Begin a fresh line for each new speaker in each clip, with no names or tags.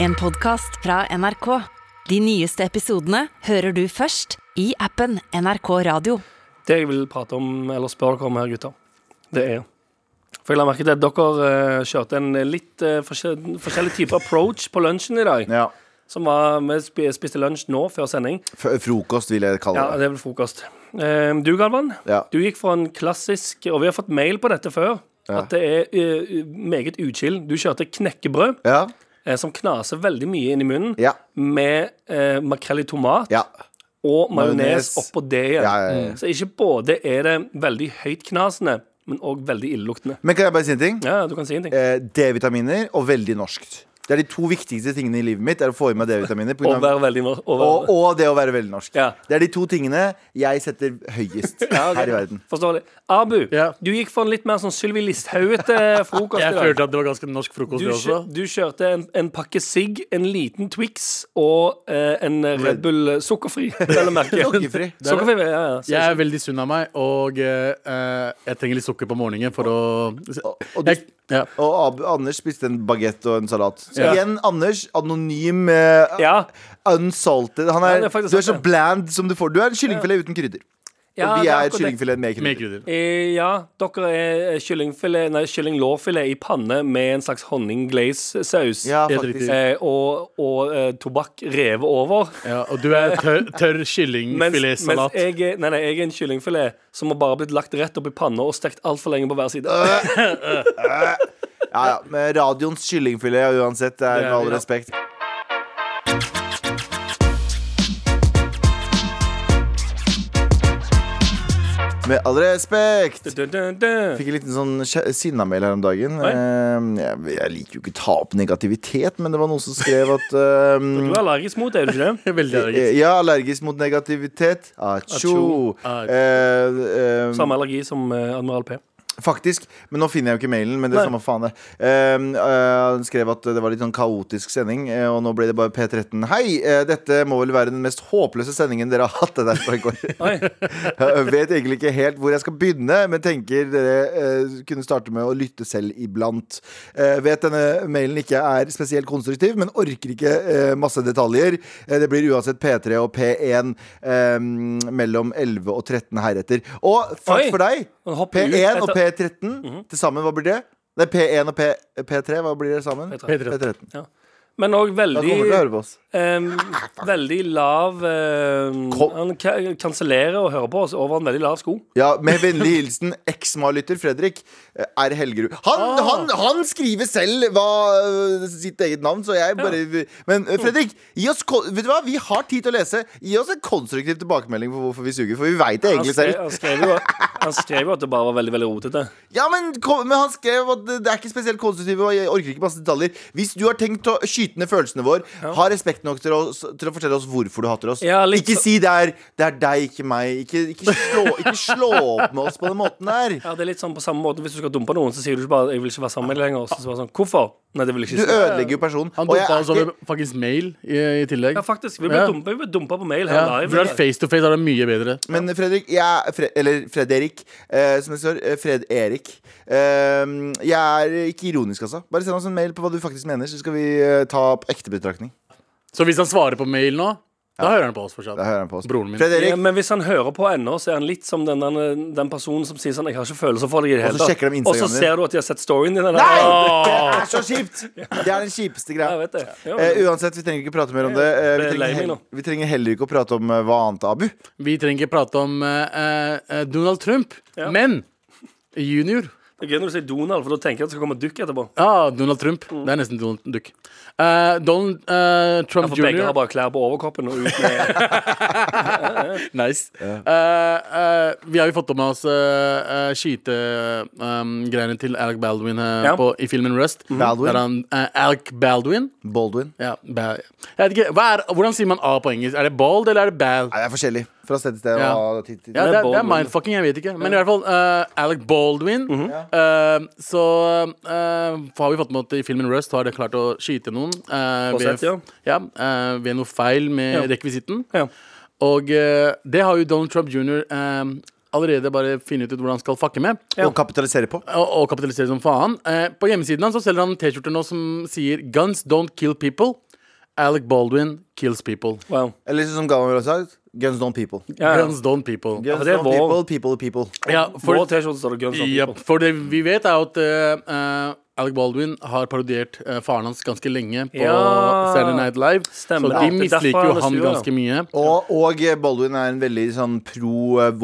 En podcast fra NRK. De nyeste episodene hører du først i appen NRK Radio.
Det jeg vil prate om, eller spørre dere om her, gutter, det er For jeg la merke til at dere eh, kjørte en litt eh, forskjell, forskjellig type approach på lunsjen i dag.
Ja.
Som var Vi spi- spiste lunsj nå, før sending.
F frokost, vil jeg kalle
Ja,
det.
det er vel frokost. Eh, Du, Galvan,
Ja.
du gikk for en klassisk Og vi har fått mail på dette før.
Ja.
At det er eh, meget uchill. Du kjørte knekkebrød
Ja.
eh, som knaser veldig mye inn i munnen,
Ja.
med eh, makrell i tomat
Ja.
og majones
Majones.
oppå det igjen.
Ja, ja, ja.
Så ikke både er det veldig høytknasende, men òg veldig illeluktende.
Men kan jeg bare si en ting?
Ja, du kan si en ting.
Eh, D-vitaminer og veldig norskt. Det er de to viktigste tingene i livet mitt. Er å få i meg D-vitaminer på
Og
grunn av-
være veldig og,
og, og det å være veldig norsk.
Ja.
Det er de to tingene jeg setter høyest
Ja, ok.
her i verden.
Forståelig. Abu,
Ja.
du gikk for en litt mer sånn Sylvi Listhaug-ete frokost i
Jeg
dag.
følte at det var ganske norsk frokost,
Du,
det også.
kjø- du kjørte en, en pakke sigg, en liten Twix og eh, en Red Bull sukkerfri. vel å merke.
Sukkerfri.
Det er Sukkerfri, ja, ja. Så-
Jeg er veldig sunn av meg, og eh, eh, jeg trenger litt sukker på morgenen for å
og du-
jeg, ja.
Og Ab Anders spiste en bagett og en salat. Så
Ja.
igjen Anders, anonym, eh,
ja,
unsalted. Han
Ja,
er,
det er faktisk
du er så
sant,
bland som du får. Du er en kyllingfilet uten krydder.
ja,
og
det
vi
er
er
akkurat
et
det.
kyllingfilet med
Med
krydder.
krydder.
Eh, ja, dere er eh, kyllingfilet, nei, kyllinglårfilet i panne med en slags honningglaze-saus.
Ja,
Helt
faktisk.
riktig.
Eh, og og eh, tobakk revet over.
Ja, og du er tørr, tørr
Mens, mens
kyllingfiletsalat.
jeg, er- nei, nei, jeg er en kyllingfilet som har bare blitt lagt rett opp i panna og stekt altfor lenge på hver side.
Ja, ja. Men radioens kyllingfilet uansett, det er med all
Ja.
respekt. Med all respekt!
Dun, dun, dun.
Fikk en liten sånn kje- sinnamail her om dagen.
Oi.
Eh, Jeg, jeg liker jo ikke å ta opp negativitet, men det var noen som skrev at eh,
Du er allergisk mot det, er du ikke det?
Jeg er Veldig allergisk.
Ja, allergisk mot negativitet. Atsjo.
Atsjo.
Eh, eh,
Samme allergi som eh, Admiral P.
Faktisk, men nå finner jeg jo ikke mailen. Men det
Nei.
er samme faen det Eh, eh, Han skrev at det var litt sånn kaotisk sending, eh, og nå ble det bare P13. Hei, eh, dette må vel være den mest håpløse sendingen dere har hatt. Det er derfor jeg går.
Oi.
Jeg vet egentlig ikke helt hvor jeg skal begynne, men tenker dere eh, kunne starte med å lytte selv iblant. Eh, vet denne mailen ikke er spesielt konstruktiv, men orker ikke eh, masse detaljer. Eh, det blir uansett P3 og P1 eh, mellom 11 og 13 heretter. Og fuck
Oi!
for deg!
Han hopper ut
P1 og
etter- Mhm.
P13 til sammen, hva blir det? Nei, P1 og P, P3, hva blir det sammen?
P13.
Ja. Men òg
Da kommer du til å
veldig
høre på Ah, oss.
em, Veldig lav em,
Kom.
Han ka- kansellerer og hører på oss over en veldig lav sko.
Ja, Med vennlig hilsen eksma-lytter Fredrik eh, R. Helgerud. Han,
Ah.
han, han skriver selv hva, eh, sitt eget navn, så jeg bare Men eh, Fredrik, gi oss, ko- vet du hva? vi har tid til å lese. Gi oss en konstruktiv tilbakemelding på hvorfor vi suger, for vi veit det
Han
egentlig
skrev,
selv.
han, skrev jo, han skrev jo at det bare var veldig veldig rotete.
Ja, men, kom, men han skrev at det det er ikke spesielt konstruktivt, og jeg orker ikke masse detaljer. Hvis du har tenkt å skyte ned følelsene våre, ha respekt nok til å, til å fortelle oss hvorfor du hater oss.
Ja, litt
ikke
så-
si det er, det er deg, ikke meg. Ikke, ikke, slå, ikke slå opp med oss på den måten der.
Ja, det er litt sånn på samme måte Hvis du skal dumpe noen, så sier du ikke bare 'jeg vil ikke være sammen med deg lenger'. Og så svarer sånn 'hvorfor'? Nei, det vil jeg
Du
ikke si.
ødelegger jo personen.
Han
og jeg
dumpa
er
oss over
ikke-
faktisk mail i, i tillegg.
Ja, faktisk. Vi ble
Ja.
dumpa, vi ble dumpa på mail her
Ja, for det er
live.
face to face er det mye bedre.
men Fredrik, jeg, er- Fre eller Fredrik, eh, som det står, eh, Fred Erik. Ehm, jeg er ikke ironisk, altså. Bare send oss en mail på hva du faktisk mener, så skal vi eh, ta opp ekte betraktning.
Så hvis han svarer på mail nå, da hører han på oss fortsatt.
Da hører han på oss.
Broren min.
Fred
Ja,
Erik,
men hvis han hører på ennå, så er han litt som den, den, den personen som sier sånn 'Jeg har ikke følelser for deg i det
Og så
hele tatt'.
sjekker de
Og så
Instagramen din.
ser du at de har sett storyen din. eller?
Nei!
Åh,
Det er så kjipt! Det er den kjipeste
Jeg
greia.
vet det. Ja,
Eh, uansett, vi trenger ikke prate mer om det. Eh, vi,
Jeg ble
trenger
lei meg
heller,
nå.
vi trenger heller ikke å prate om eh, hva annet, Abu.
Vi trenger ikke prate om eh, eh, Donald Trump,
Ja.
men junior
det er gøy når du sier Donald, for da tenker jeg at det skal komme dukk etterpå.
Ja, Donald Trump.
Mm.
Det er nesten Donald Duck. Eh, Donald eh, Trump
For begge har
jr.
bare klær på overkroppen og ut med
Nice. Eh, eh, vi har jo fått med oss uh, skytegreiene ehm, til Alec Baldwin eh,
Ja. Mhm.
på, i filmen Rust.
Baldwin?
Der han, eh, Alec Baldwin.
Baldwin.
Ja, ba jeg vet ikke, hva er, hvordan sier man A på engelsk? Er det bald eller er det bal?
Nei, det er forskjellig fra sted til sted.
Ja.
og tid til tid.
Ja,
Det er
det, er, det er
Baldwin.
mindfucking, jeg vet ikke. Men i hvert fall eh, Alec Baldwin.
Mhm.
eh, så eh, har vi fått med at i filmen Rust har det klart å skyte noen. eh,
På
ved,
sett, ja.
eh, ved noe feil med
Ja.
rekvisitten.
ja.
Og eh, det har jo Donald Trump jr. eh, allerede bare funnet ut hvordan han skal fucke med.
Og kapitalisere på.
Og, og kapitalisere som faen. Eh, på hjemmesiden hans så selger han en T-skjorte nå som sier 'Guns don't kill people'. Alec Baldwin kills people.
Wow.
Eller liksom som Gamma ville sagt, guns don't people.
Ja, ja.
Guns don't people.
Guns
Ja, det er
don't
vår-
people, people are people.
Ja,
Vår
for,
T-skjorte står det Guns N'
ja,
People.
for det vi vet, er at eh, eh, Alec Baldwin har parodiert eh, faren hans ganske lenge på
Ja.
Saturday Night Live.
Stemmer.
Så
Ja, det er
de
derfor
misliker
han er
jo han
sur, ja.
ganske mye.
Og, og Baldwin er en veldig sånn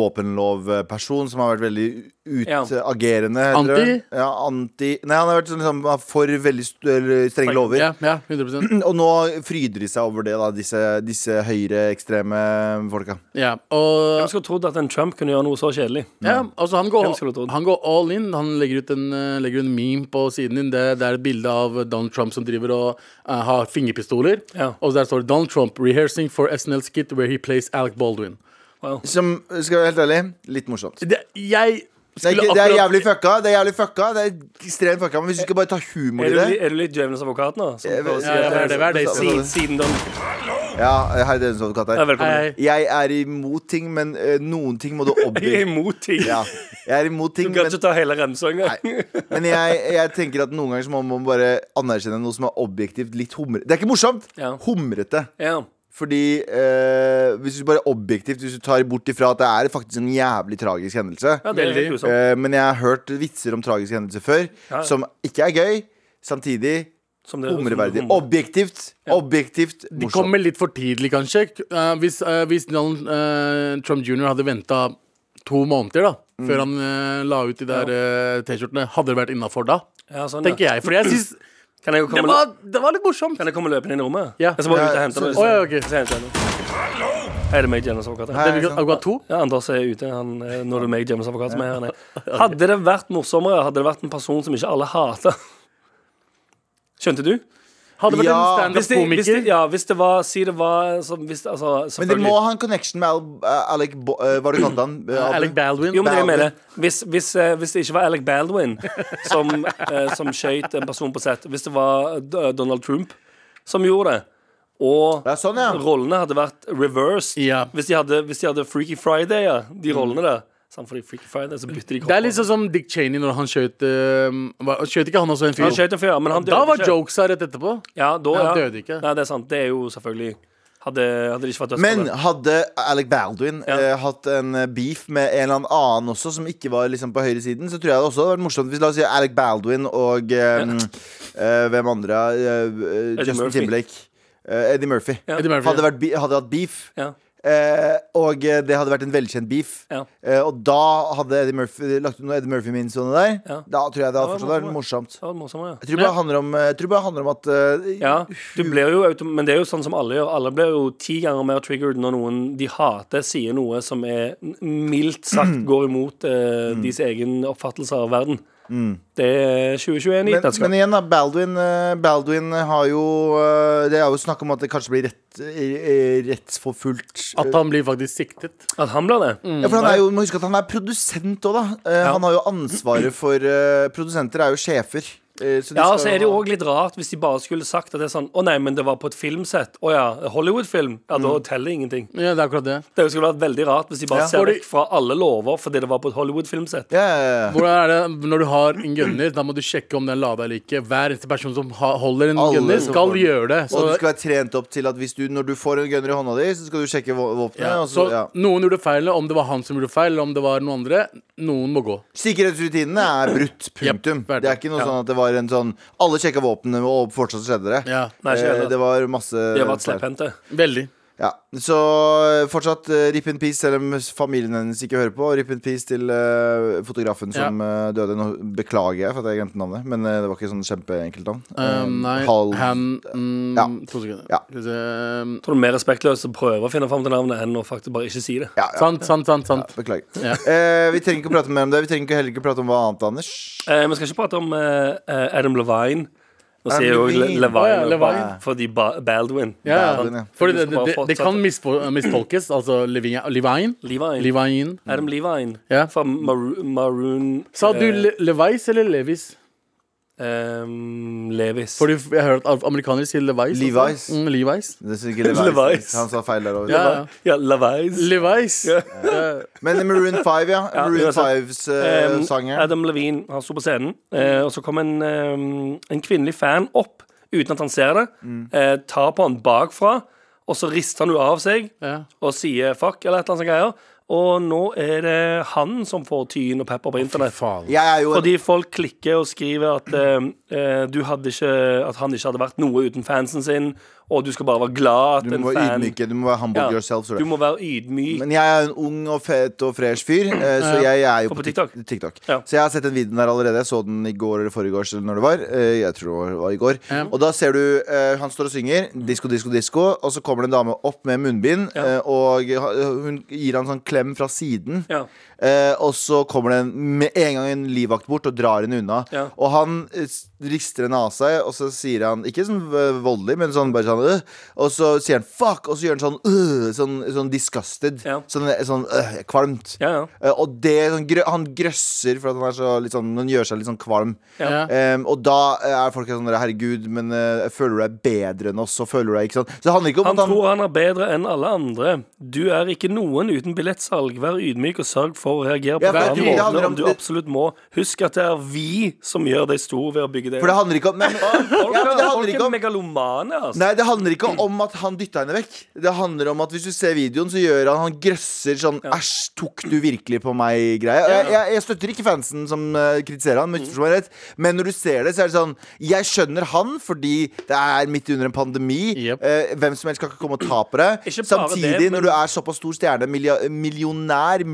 pro-våpenlov-person som har vært veldig eh,
Ja.
utagerende. heter
Anti?
det. Ja, anti Nei, han har vært sånn, liksom, for veldig st eller strenge lover.
Ja, ja 100
Og nå fryder de seg over det, da, disse, disse høyreekstreme folka.
Ja, og
Hvem skulle trodd at en Trump kunne gjøre noe så kjedelig?
ja, altså han,
Hvem
går,
skulle trodd?
han går all in. Han legger ut en, eh, legger ut en meme på siden din. Det, det er et bilde av Donald Trump som driver og eh, har fingerpistoler.
Ja.
Og der står det 'Donald Trump rehearsing for SNL's skit where he plays Alec Baldwin'.
Som, skal jeg være helt ærlig, litt morsomt.
Det, jeg
Det er,
skulle
ikke, det er
akkurat
jævlig fucka. Det er jævlig fucka Det er ekstremt fucka Men hvis du skal bare ta humor
Er
i
du,
det
li- er du litt Djevelens advokat nå? Som
Jeg
prøver å
vet-
si
Ja, ja,
at
hva er det, hva er det?
Siden, siden den
Ja, hei, det er en sånn katt
ja,
her.
Velkommen.
Hei.
Jeg er imot ting, men eh, noen ting må du
Jeg er
oppbygge.
imot ting.
Ja, jeg er imot
Du
ting,
kan
men
ikke ta hele remsa engang.
Men jeg, jeg tenker at noen ganger så må man bare anerkjenne noe som er objektivt litt humrete. Det er ikke morsomt!
Ja.
Humrete.
Ja.
Fordi eh, hvis du bare objektivt Hvis du tar bort ifra at det er faktisk en jævlig tragisk hendelse
ja, det er litt grusomt.
eh, Men jeg har hørt vitser om tragiske hendelser før
Ja.
som ikke er gøy. Samtidig
Som det- som
humreverdig.
humre.
Objektivt. Objektivt
De
morsomt.
kommer litt for tidlig, kanskje. Eh, hvis, eh, hvis Donald eh, Trump jr. hadde venta to måneder da
Mm.
før han eh, la ut de der eh, T-skjortene, hadde det vært innafor da?
Ja, sånn,
Tenker
ja.
jeg. Fordi jeg syns
Kan jeg jo
det,
komme,
var- det var litt morsomt.
kan jeg komme løpende inn i rommet?
Ja.
Jeg skal bare
Ja,
ut og hente
så-
det.
Å, ja, ok.
Så henter jeg det. Hei, det er meg, Djevelens advokat. her.
Hei.
Det vil- Akkurat to?
Ja, Anders er ute. Han, eh, nå er det meg, Djevelens advokat, som er her. nei. Hadde det vært morsommere, hadde det vært en person som ikke alle hater. Skjønte du?
Hadde vært
Ja.
en
Hvis det, hvis det,
standup-komiker.
ja, hvis det var Si det var som, hvis, altså,
Men de
selvfølgelig.
må ha en connection med Al, eh, Alec Bo, eh, Hva du kalte han? Eh, Abu?
Alec Baldwin.
Jo, men det jeg mener
Baldwin.
hvis, hvis, eh, hvis det ikke var Alec Baldwin som, eh, som skjøt en person på sett, hvis det var eh, Donald Trump som gjorde det, og
Ja, sånn, ja.
rollene hadde vært reversed
Ja. Mm.
hvis, de hadde, hvis de hadde Freaky Friday, ja, de rollene der Samt fordi Freaky Friday, så bytter de
Det er litt sånn som Dick Cheney når han skjøt eh, hva- Skjøt ikke han også en fyr?
Han skjøt en fyr, ja, men han døde
da var
ikke.
jokesa rett etterpå.
Ja, da,
Ja,
ja.
han døde ikke.
Nei, det er sant. Det er jo selvfølgelig Hadde, hadde det ikke vært dødsfall
Men
der.
hadde Alec Baldwin
Ja.
eh, hatt en eh, beef med en eller annen også, som ikke var liksom på høyresiden, så tror jeg det også hadde vært morsomt hvis la oss si Alec Baldwin og eh, eh, hvem andre eh, eh,
Eddie
Justin
Murphy.
Timberlake. Eh, Eddie Murphy.
Eddie Murphy,
Hadde,
ja.
vært, be- hadde hatt beef.
Ja.
Eh, og eh, det hadde vært en velkjent beef.
Ja.
Eh, og da hadde Eddie Murphy eh, lagt ut noe Eddie Murphy-minnes om det der.
Ja.
Da tror jeg det hadde
var
fortsatt vært morsomt.
Så var det morsommere, ja.
Jeg tror bare det handler om, eh, jeg tror bare det handler om at eh,
Ja, du blir jo autom Men det er jo sånn som alle gjør. Alle blir jo ti ganger mer triggered når noen de hater, sier noe som er n- mildt sagt går imot
Mm.
eh, deres egen oppfattelse av verden. Det er 2021 i et
men,
nøtteskall.
men igjen, da. Baldwin, eh, Baldwin har jo eh, Det er jo snakk om at det kanskje blir rett, eh, eh, rettsforfulgt.
At han blir faktisk siktet.
At han blir det?
Ja, for han er jo, må huske at han er produsent òg, da. Eh,
Ja.
Han har jo ansvaret for eh, Produsenter er jo sjefer. eh, de
Ja,
skal
så er det jo
ha-
òg litt rart hvis de bare skulle sagt at det er sånn Å nei, men det var på et filmsett. Å ja, Hollywood-film. Ja, da teller ingenting.
Ja, det er akkurat det.
Det skulle vært veldig rart hvis de bare
Mm. Ja.
ser
Fordi-
vekk fra alle lover fordi det var på et Hollywood-filmsett.
Ja, ja, ja.
Hvordan er det når du har en gunner? Da må du sjekke om den er lada eller ikke. Hver eneste person som ha, holder en
Alle
gunner,
som
skal
får den.
gjøre det. Så,
Og du skal være trent opp til at hvis du, når du får en gunner i hånda di, så skal du sjekke vå- våpenet.
ja,
og
så
så, ja.
noen gjorde feil, om det var han som gjorde feil, eller om det var noen andre. Noen må gå.
Sikkerhetsrutinene er brutt. Punktum.
Jep, ferdig.
det er ikke noe
Ja.
sånn at det var en sånn Alle sjekka våpnene, og fortsatt skjedde det.
Ja,
Nei, ikke
Eh,
heller.
det var masse
De har vært
feil.
slepphendte.
veldig.
Ja, Så eh, fortsatt eh, rip in peace, selv om familien hennes ikke hører på. Rip in peace til eh, fotografen som eh, døde. Nå beklager jeg for at jeg glemte navnet, men eh, det var ikke sånn kjempeenkelt navn.
Um, nei,
Eh, Hal-
han mm,
Ja.
To sekunder.
Ja.
Skal vi se. um,
Tror du mer respektløst å prøve å finne fram til navnet enn å faktisk bare ikke si det?
ja, ja,
Sant, sant, sant. sant.
beklager.
Ja.
Eh, vi trenger ikke å prate mer om det. Vi trenger ikke- heller ikke å prate om hva annet, Anders.
Eh, vi skal ikke prate om eh, eh, Adam Levine. Nå sier jeg jo Le
Levine.
Levine,
Å ja,
og
Levine.
ba- fordi ba Baldwin.
Ja,
Baldwin, ja.
ja. Fordi det,
Du skal
det,
bare
det, det kan
fortsette.
misfo- mistolkes. Altså Levine. Levine.
Levine.
Levine.
Adam Levine
Ja.
fra Maru Maroon
Sa du
eh,
Le Levice eller Levis?
ehm, Levis.
Fordi jeg har hørt at amerikanere sier Levice. også.
Levi's.
Mm, Levi's.
Det synes ikke Levi's.
Levi's.
Han sa feil der òg.
Ja.
Ja, Levis.
Levi's. Ja.
Men Maroon 5, ja.
Ja,
Maroon
uansett.
5s eh,
Ehm,
sanger.
Adam Levine han sto på scenen, eh, og så kom en, ehm, en kvinnelig fan opp uten at han ser det.
Mm.
Eh, tar på han bakfra, og så rister han jo av seg
Ja.
og sier fuck eller et eller annet sånt greier. Og nå er det han som får tyn og pepper på internett.
Faen.
Jeg er jo
Fordi folk klikker og skriver at, eh, eh, du hadde ikke, at han ikke hadde vært noe uten fansen sin, og du skal bare være glad at
Du
en
må være
fan
ydmyke, du må være humble
Ja,
yourself. tror jeg.
Du må være ydmyk.
Men jeg er en ung og fet og fresh fyr, eh, så jeg, jeg er jo
Og
på
på
TikTok.
TikTok.
TikTok.
Ja.
Så jeg har sett den videoen der allerede. Jeg så den i går eller foregårs, eller når det var. Eh, Jeg tror det var i går.
Ja.
Og da ser du eh, han står og synger disko, disko, disko, og så kommer det en dame opp med munnbind,
Ja.
eh, og ha- hun gir han sånn klem fra siden.
Ja.
Eh, og så kommer det en, med en gang en livvakt bort og drar henne unna.
Ja.
Og han eh, s- rister henne av seg, og så sier han Ikke sånn eh, voldelig, men sånn bare sånn øh. Og så sier han fuck, og så gjør han sånn øh, sånn, sånn disgusted.
Ja.
Sånn, sånn øh, kvalmt.
Ja, ja.
Eh, og det sånn, grø Han grøsser for at han er så litt sånn Han gjør seg litt sånn kvalm.
Ja.
Em, og da er folk sånn Herregud, men eh, føler du deg bedre enn oss? Og føler du deg ikke sånn Så det handler ikke om
Han
at han
tror han er bedre enn alle andre. Du er ikke noen uten billettsalg. Vær ydmyk og sørg for å reagere på
Ja, for
hver
jeg tror det handler
måte
om
om du
det-
absolutt må. Husk at det er vi som gjør deg stor ved å bygge deg
For det handler ikke om Nei, men,
Folk,
ja, men det
er-
handler
folk
ikke
er
om
megalomane, altså.
Nei, det handler ikke om at han dytta henne vekk. Det handler om at hvis du ser videoen, så gjør han Han grøsser sånn Æsj, tok du virkelig på meg-greie. Jeg, jeg, jeg støtter ikke fansen som eh, kritiserer
Mm.
han, men ikke forstå meg rett. Men når du ser det, så er det sånn Jeg skjønner han, fordi det er midt under en pandemi.
Yep.
Eh, hvem som helst kan ikke komme og ta på deg.
Ikke bare
Samtidig,
det, men-
når du er såpass stor stjerne, milja- millionær,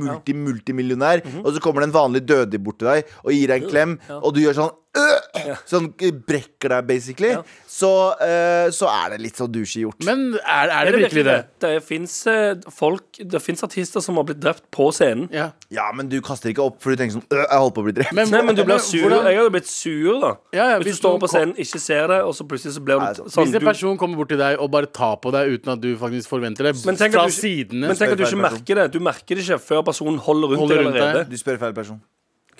multi-multimillionær,
Mhm.
og så kommer det en vanlig dødig bort til deg og gir deg en klem, og du gjør sånn øh, Sånn eh, brekker deg, basically. Så, eh, så er det litt sånn douche gjort.
Men er, er det virkelig det?
Det, finnes, eh, folk, det finnes artister som har blitt drept på scenen.
Ja.
ja, men du kaster ikke opp, for du tenker sånn øh, Jeg holdt på å bli drept.
Nei, men du blir sur.
hvordan-
Jeg hadde blitt sur, da.
Ja, ja,
hvis
hvis
du står
noen
på scenen, ikke ser det, og så plutselig så blir
Nei,
du
så-
sånn
Hvis en
du-
person kommer bort til deg og bare tar på deg uten at du faktisk forventer det,
Men tenk
fra
at du, ikke-
sidene
men tenk at du
spør
ikke
feil person.
merker det. Du merker det ikke før personen holder rundt
Holder
deg
rundt deg.
allerede.
Du spør feil person.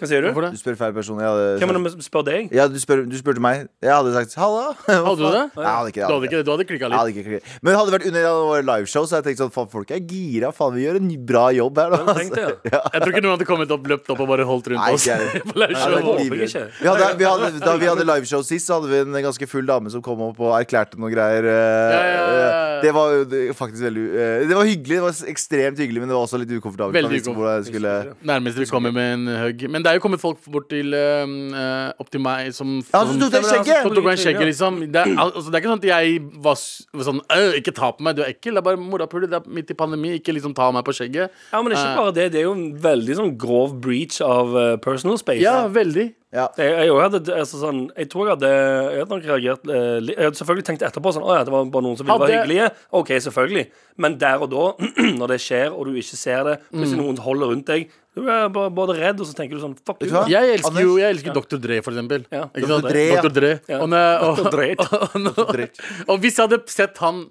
Hva sier du?
Hvorfor
Du
det?
spør feil person. Jeg
Hvem er
hadde
det som spør deg?
ja, du, spør, du spurte meg. Jeg hadde sagt halla. Hva
Hadde du
faen?
det?
Nei, jeg hadde ikke
Du
det.
hadde, ikke, du hadde klikka
Jeg
litt.
hadde ikke klikket. Men hadde det vært under våre liveshow, så hadde jeg tenkt sånn Faen, folk er gira. Faen, vi gjør en bra jobb her, da.
Tenk det, ja.
altså, Jeg tror ikke noen hadde kommet opp, løpt opp og bare holdt rundt
Nei,
oss.
ikke jeg.
På Laura
Jeg hadde
Show.
vært
håper jeg
livredd. Vi hadde, vi hadde, da vi hadde liveshow sist, så hadde vi en ganske full dame som kom opp og erklærte noen greier. eh,
Ja, ja, ja, ja.
Det var jo det- faktisk veldig eh, Det var hyggelig, det var s- ekstremt hyggelig, men det var også litt ukomfortabelt.
Veldig
Man visste hvor jeg
ukomfortabelt.
skulle
Nærmest vi kommer med en hug. Men det er jo kommet folk bort til øhm, øh, opp til meg som
Ja, altså, så tok
som-
dere
altså,
skjegget!
som tok meg i skjegget, liksom. Det er, al- altså, det er ikke sånn at jeg var s- var sånn «Øh, Ikke ta på meg, du er ekkel. Det er bare morapule. Det er midt i pandemi. Ikke liksom ta meg på skjegget.
Ja, men
Eh.
ikke bare det. Det er jo en veldig sånn grov breach av eh, personal space.
Ja, veldig.
Ja.
Jeg, jeg, også hadde, altså, sånn, jeg tror jeg hadde, jeg hadde nok reagert eh, li- Jeg hadde selvfølgelig tenkt etterpå sånn, Å ja, det var bare noen som ville være
Hadde-
hyggelige. OK, selvfølgelig. Men der og da, når det skjer, og du ikke ser det,
Mm.
plutselig noen holder rundt deg, du er bare, både redd, og så tenker du sånn Fuck
Vet
you.
du
da.
hva?
Jeg elsker jo
Anders?
jeg elsker Dr. Dre, for eksempel.
Ja,
Ikke
Dr.
sant?
Dre, ja.
Dr. Dre.
Ja.
Og, når- og,
Dr. Dre.
og, og,
Dre.
og hvis jeg hadde sett han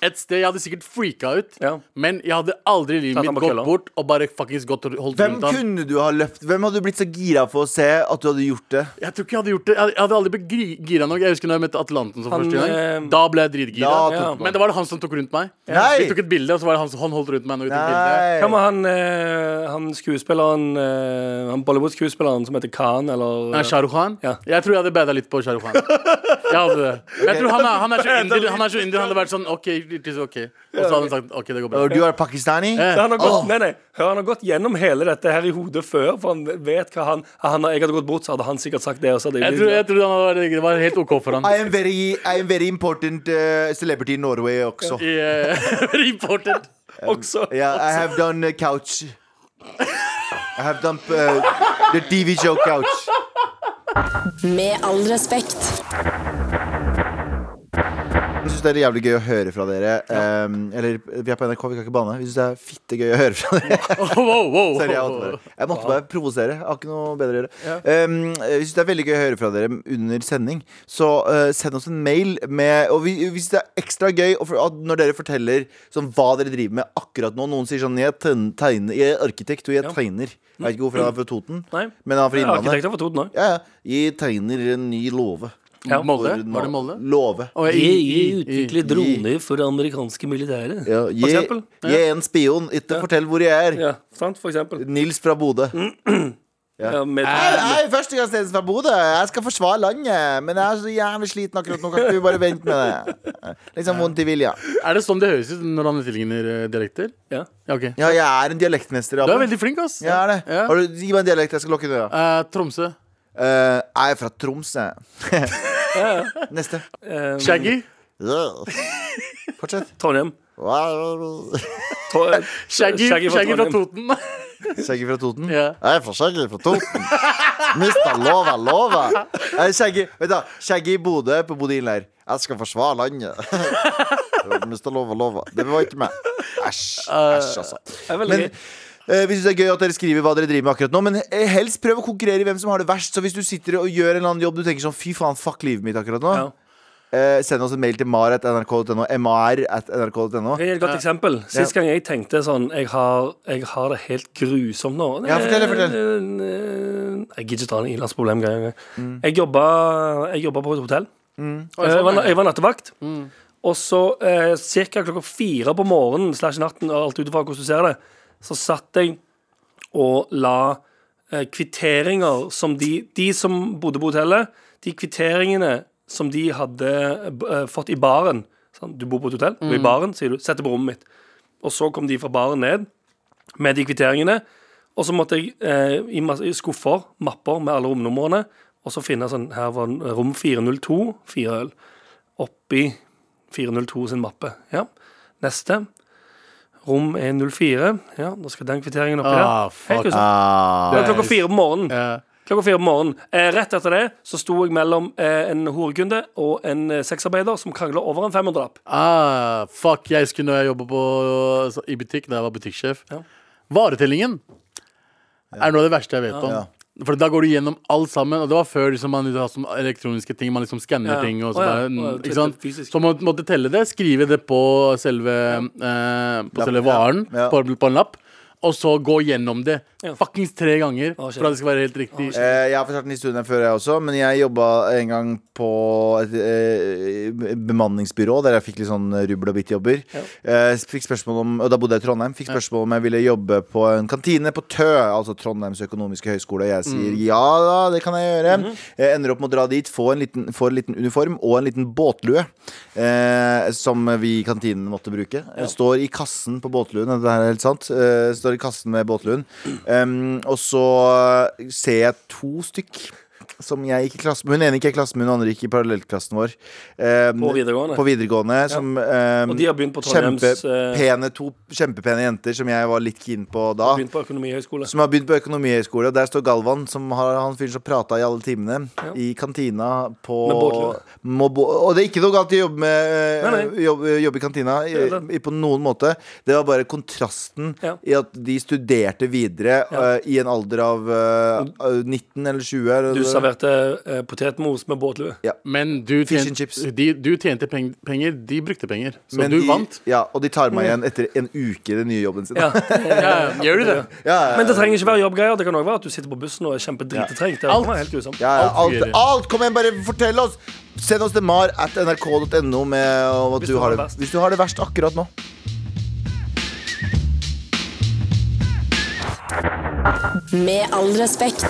et sted, jeg hadde sikkert freaka ut.
Ja.
Men jeg hadde aldri i
Tatt
livet
han
mitt
på
gått
kølla.
bort og bare faktisk gått og holdt
Hvem
rundt han.
kunne du ha løpt? Hvem hadde du blitt så gira for å se at du hadde gjort det?
Jeg tror ikke jeg hadde gjort det. Jeg hadde- jeg hadde aldri blitt gri- gira nok. Jeg husker når jeg møtte Atlanten som
Han,
første gang.
eh,
Da ble jeg
Da
dritgira.
tok
Ja.
du
Men det var det han som tok rundt meg.
Nei!
Vi tok et bilde, og så var det han som han holdt rundt meg. Når vi tok bildet.
Hva
Nei.
med han, eh, han skuespilleren eh, Han Bollywood-skuespilleren som heter Khan, eller eh,
Nei, Shah Rukh Khan?
Ja.
Jeg tror jeg hadde bada litt på Shah Rukh Khan. Jeg hadde det. Jeg tror han er, han er så indier, han er så indier, han hadde vært sånn OK, it is ok. Og så hadde han sagt OK, det går bra.
Og Du er pakistani?
Eh,
Så han har gått, nei, nei, hør, han har gått gjennom hele dette her i hodet før, for han vet hva han, han har- Jeg hadde gått bort, så hadde han sikkert sagt det. Og så hadde
Jeg tror, jeg tror han hadde vært, det var helt OK for han.
I am very, I am very important eh, celebrity in Norway også.
I, eh, Reported.
også.
Yeah, I have done uh, couch. I have done uh, the TV show couch.
Med all respekt.
Jeg syns det er jævlig gøy å høre fra dere. Um, eller, vi er på NRK, vi kan ikke banne. Vi syns det er fitte gøy å høre fra dere.
Oh, wow, wow.
Sorry, jeg, måtte bare, jeg måtte bare provosere. Jeg har ikke noe bedre å gjøre. Um, jeg syns det er veldig gøy å høre fra dere under sending. Så uh, send oss en mail med Og vi, hvis det er ekstra gøy å for, at når dere forteller sånn, hva dere driver med akkurat nå Noen sier sånn Jeg, tegn- tegner, jeg er arkitekt, og jeg
Ja.
tegner. Jeg vet ikke
Mm.
hvorfor han er fra Toten,
Nei.
men han eh? er fra Innlandet.
Arkitekter for Toten òg.
Ja, ja. Jeg tegner en ny låve.
Ja.
Molde?
For
Var
nå-
det Molde?
Låve.
Og jeg-
droner for amerikanske militære.
Ja,
For
jeg,
eksempel.
jeg er en spion. Ikke fortell hvor jeg er.
Ja, sant, for eksempel.
Mm.
Nils fra Bodø.
Ja, med,
Hei, hei, førstegangstjenesten fra Bodø. Jeg skal forsvare landet, men jeg er så jævlig sliten akkurat nå. Kan ikke du bare vente med det? Liksom vondt i vilja.
Er det sånn det høres ut når han tilligner eh, dialekter?
ja.
Ja, ok
Ja, jeg er en dialektmester.
Du
Abu.
er veldig flink, ass.
Jeg er det.
Ja.
Har du, gi meg en dialekt, jeg skal lukke døra.
Eh, Tromsø.
Eh, jeg er fra Tromsø. Neste.
Eh,
Shaggy.
Fortsett.
Trondheim.
Skjegget
Tro-
Shaggy, Shaggy, fra
Trondheim.
Toten.
fra Toten?
Ja.
Jeg er fra Skjegget fra Toten. Mista lova, lova. Eh, Skjegget vet du hva? Skjegget i Bodø på Bodø Innleir. Jeg skal forsvare landet. Mista lova, lova. Det var ikke meg. Æsj. Æsj, altså.
Det er veldig
Men
gøy.
eh, vi synes det er gøy at dere skriver hva dere driver med akkurat nå, men eh, helst prøv å konkurrere i hvem som har det verst. Så hvis du sitter og gjør en eller annen jobb du tenker sånn fy faen, fuck livet mitt akkurat nå,
Ja.
eh, send oss en mail til mar.nrk.no. mar.nrk.no.
Jeg gir et godt eksempel. Sist gang jeg tenkte sånn Jeg har, jeg har det helt grusomt nå.
Ja, fortell, fortell.
Eh, eh, Jeg gidder ikke ta den ilandsproblemgreia. Jeg jobba jeg jobba på et hotell.
Eh,
sånn,
Eh, Jeg var, jeg var nattevakt. Og så eh, ca. klokka fire på morgenen slash natten, alt ut ifra hvordan du ser det, så satt jeg og la eh, kvitteringer som de, de som bodde på hotellet, de kvitteringene som de hadde eh, fått i baren sånn, Du bor på et hotell, og i baren sier du 'sett det på rommet mitt'. Og så kom de fra baren ned med de kvitteringene. Og så måtte jeg eh, i, masse, i skuffer, mapper med alle romnumrene, og så finne sånn Her var rom 402, fire øl. Oppi 402 sin mappe. Ja. Neste. Rom er 04. Ja, da skal den kvitteringen oppi
Ah,
der.
fuck.
grusomt.
Ah,
Det var klokka fire på morgenen.
Ja.
Klokka fire på morgenen. Eh, rett etter det så sto jeg mellom eh, en horekunde og en eh, sexarbeider som krangla over en 500-lapp.
Ah, fuck, jeg husker når jeg jobba på, så- i butikk, da jeg var butikksjef.
Ja.
Varetellingen er noe av det verste jeg vet om.
Ja.
For da går du gjennom alt sammen, og det var før liksom, man hadde sånn elektroniske ting. Man liksom skanner
Ja.
ting. Og så,
Å, ja.
bare,
Å, ja,
ikke sant?
fysisk.
så man måtte telle det, skrive det på selve, eh, på selve varen,
Ja. Ja.
På, på en lapp. Og så gå gjennom det
Ja.
fuckings tre ganger
Å, shit.
for at det skal være helt riktig.
Eh, jeg har fortalt den historien her før, jeg også. Men jeg jobba en gang på et eh, bemanningsbyrå der jeg fikk litt sånn rubbel og bitt-jobber. Eh, fikk spørsmål om, Og da bodde jeg i Trondheim. Fikk spørsmål om jeg ville jobbe på en kantine på Tø, altså Trondheims økonomiske høgskole. Og jeg sier ja da, det kan jeg gjøre. jeg ender opp med å dra dit, få en liten, få en liten uniform og en liten båtlue. Eh, som vi i kantinen måtte bruke. Jeg Står i kassen på båtluen, dette her er helt sant. Eh, står i kassen med båtluen. Em, og så ser jeg to stykk som jeg gikk i klasse med. Hun ene gikk jeg i klasse med, hun andre gikk i parallellklassen vår. Em,
På videregående.
På videregående som, em,
Og de har begynt på Trondheims eh,
kjempepene, to kjempepene jenter som jeg var litt keen på da.
Begynt på økonomihøgskole.
Som har begynt på økonomihøgskole. Og der står Galvan, som har, han fyren som prata i alle timene. I kantina på
Med båtlue.
må bo, Og det er ikke noe galt i å jobbe, med,
Nei, nei.
øh, jobbe, jobbe i kantina i,
Det er det.
i, på noen måte. Det var bare kontrasten
Ja.
i at de studerte videre
Ja.
øh, i en alder av øh, 19 eller 20. Eller,
Du serverte eh, potetmos med båtlue.
Men du
Fish and
tjente,
chips.
de, du tjente peng, penger, de brukte penger. Så
Men
du
de,
vant.
Ja, og de tar meg igjen etter en uke i den nye jobben sin.
Mm. Ja.
Ja, gjør du det?
Ja, ja,
Men det trenger ikke være jobbgreier. Det kan òg være at du sitter på bussen og er kjempedritetrengt. Det
Alt.
er helt grusomt.
Ja, ja,
Alt
alt,
fungerer.
alt! Kom igjen, bare fortell oss! Send oss til mar at nrk.no med om at
Hvis
du har det,
verst.
hvis du har det verst akkurat nå.
Med all respekt.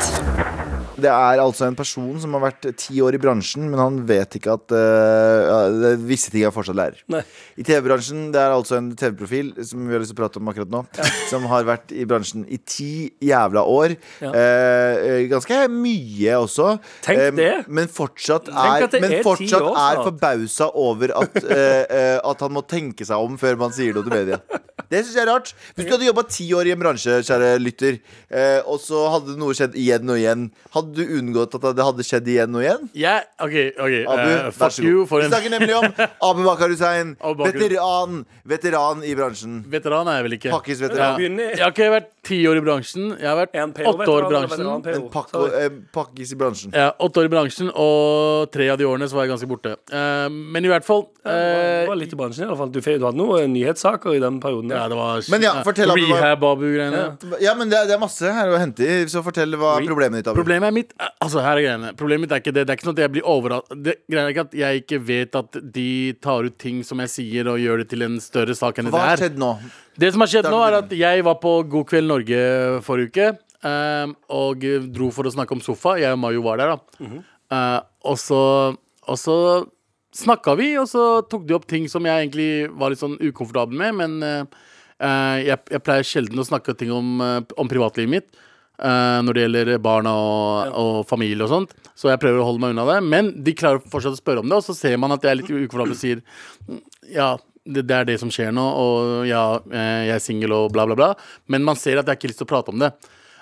Det er altså en person som har vært ti år i bransjen, men han vet ikke at eh, ja, det er visse ting han fortsatt lærer.
Nei.
I TV-bransjen, det er altså en TV-profil som vi har lyst til å prate om akkurat nå, som har vært i bransjen i ti jævla år.
Ja.
Eh, eh, ganske mye også.
Tenk
Eh,
det.
Men fortsatt
Tenk
er,
at det
men
er ti
fortsatt
år
er
snart.
forbausa over at, eh, eh, at han må tenke seg om før man sier noe til media. Det syns jeg er rart. Hvis du hadde jobba ti år i en bransje, kjære lytter, eh, og så hadde noe skjedd igjen og igjen, hadde du unngått at det hadde skjedd igjen og igjen?
Jeg, ok, ok
Abu,
eh,
vær
Fuck
så
you
god.
for
Vi
en
snakker nemlig om Abu Bakar Hussein.
Abu Bakar.
Veteran, veteran i bransjen.
Veteran er jeg vel ikke.
Pakkis
Ja.
veteran.
Begynner-
Jeg har ikke vært ti år i bransjen. Jeg har vært
En PO,
åtte år
veteran,
i bransjen.
veteran, PO.
En pakk-
Sorry.
eh, pakkis i bransjen.
Ja, åtte år i bransjen, og tre av de årene så var jeg ganske borte. Eh, men i hvert fall eh,
Du var litt i bransjen i alle fall. Du, fe- du hadde noen nyhetssaker i den perioden.
Ja, det var
Men ja, fortell, Abu, hva-
Rehab-Abu-greiene.
Ja, men det er, det er masse her å hente i, så fortell hva
Oi.
problemet ditt er. Abu.
Problemet er mitt Altså, her er greiene. Problemet mitt er ikke det. Det er ikke sånn at jeg blir overrasket Det greia er ikke at jeg ikke vet at de tar ut ting som jeg sier, og gjør det til en større sak enn
Hva
det
har
er.
skjedd nå?
Det som har skjedd
Der
nå,
begynner
er at jeg var på God kveld Norge forrige uke. ehm, og dro for å snakke om sofa. Jeg og Mayo var der, da. Eh, og så, og så snakka vi, og så tok de opp ting som jeg egentlig var litt sånn ukomfortabel med, men eh, eh, jeg, jeg pleier sjelden å snakke ting om, eh, om privatlivet mitt. eh, når det gjelder barna og, og familie og sånt. Så jeg prøver å holde meg unna det. Men de klarer fortsatt å spørre om det, og så ser man at jeg er litt ukomfortabel og sier ja, det, det er det som skjer nå, og ja, eh, jeg er singel og bla, bla, bla. Men man ser at jeg har ikke lyst til å prate om det.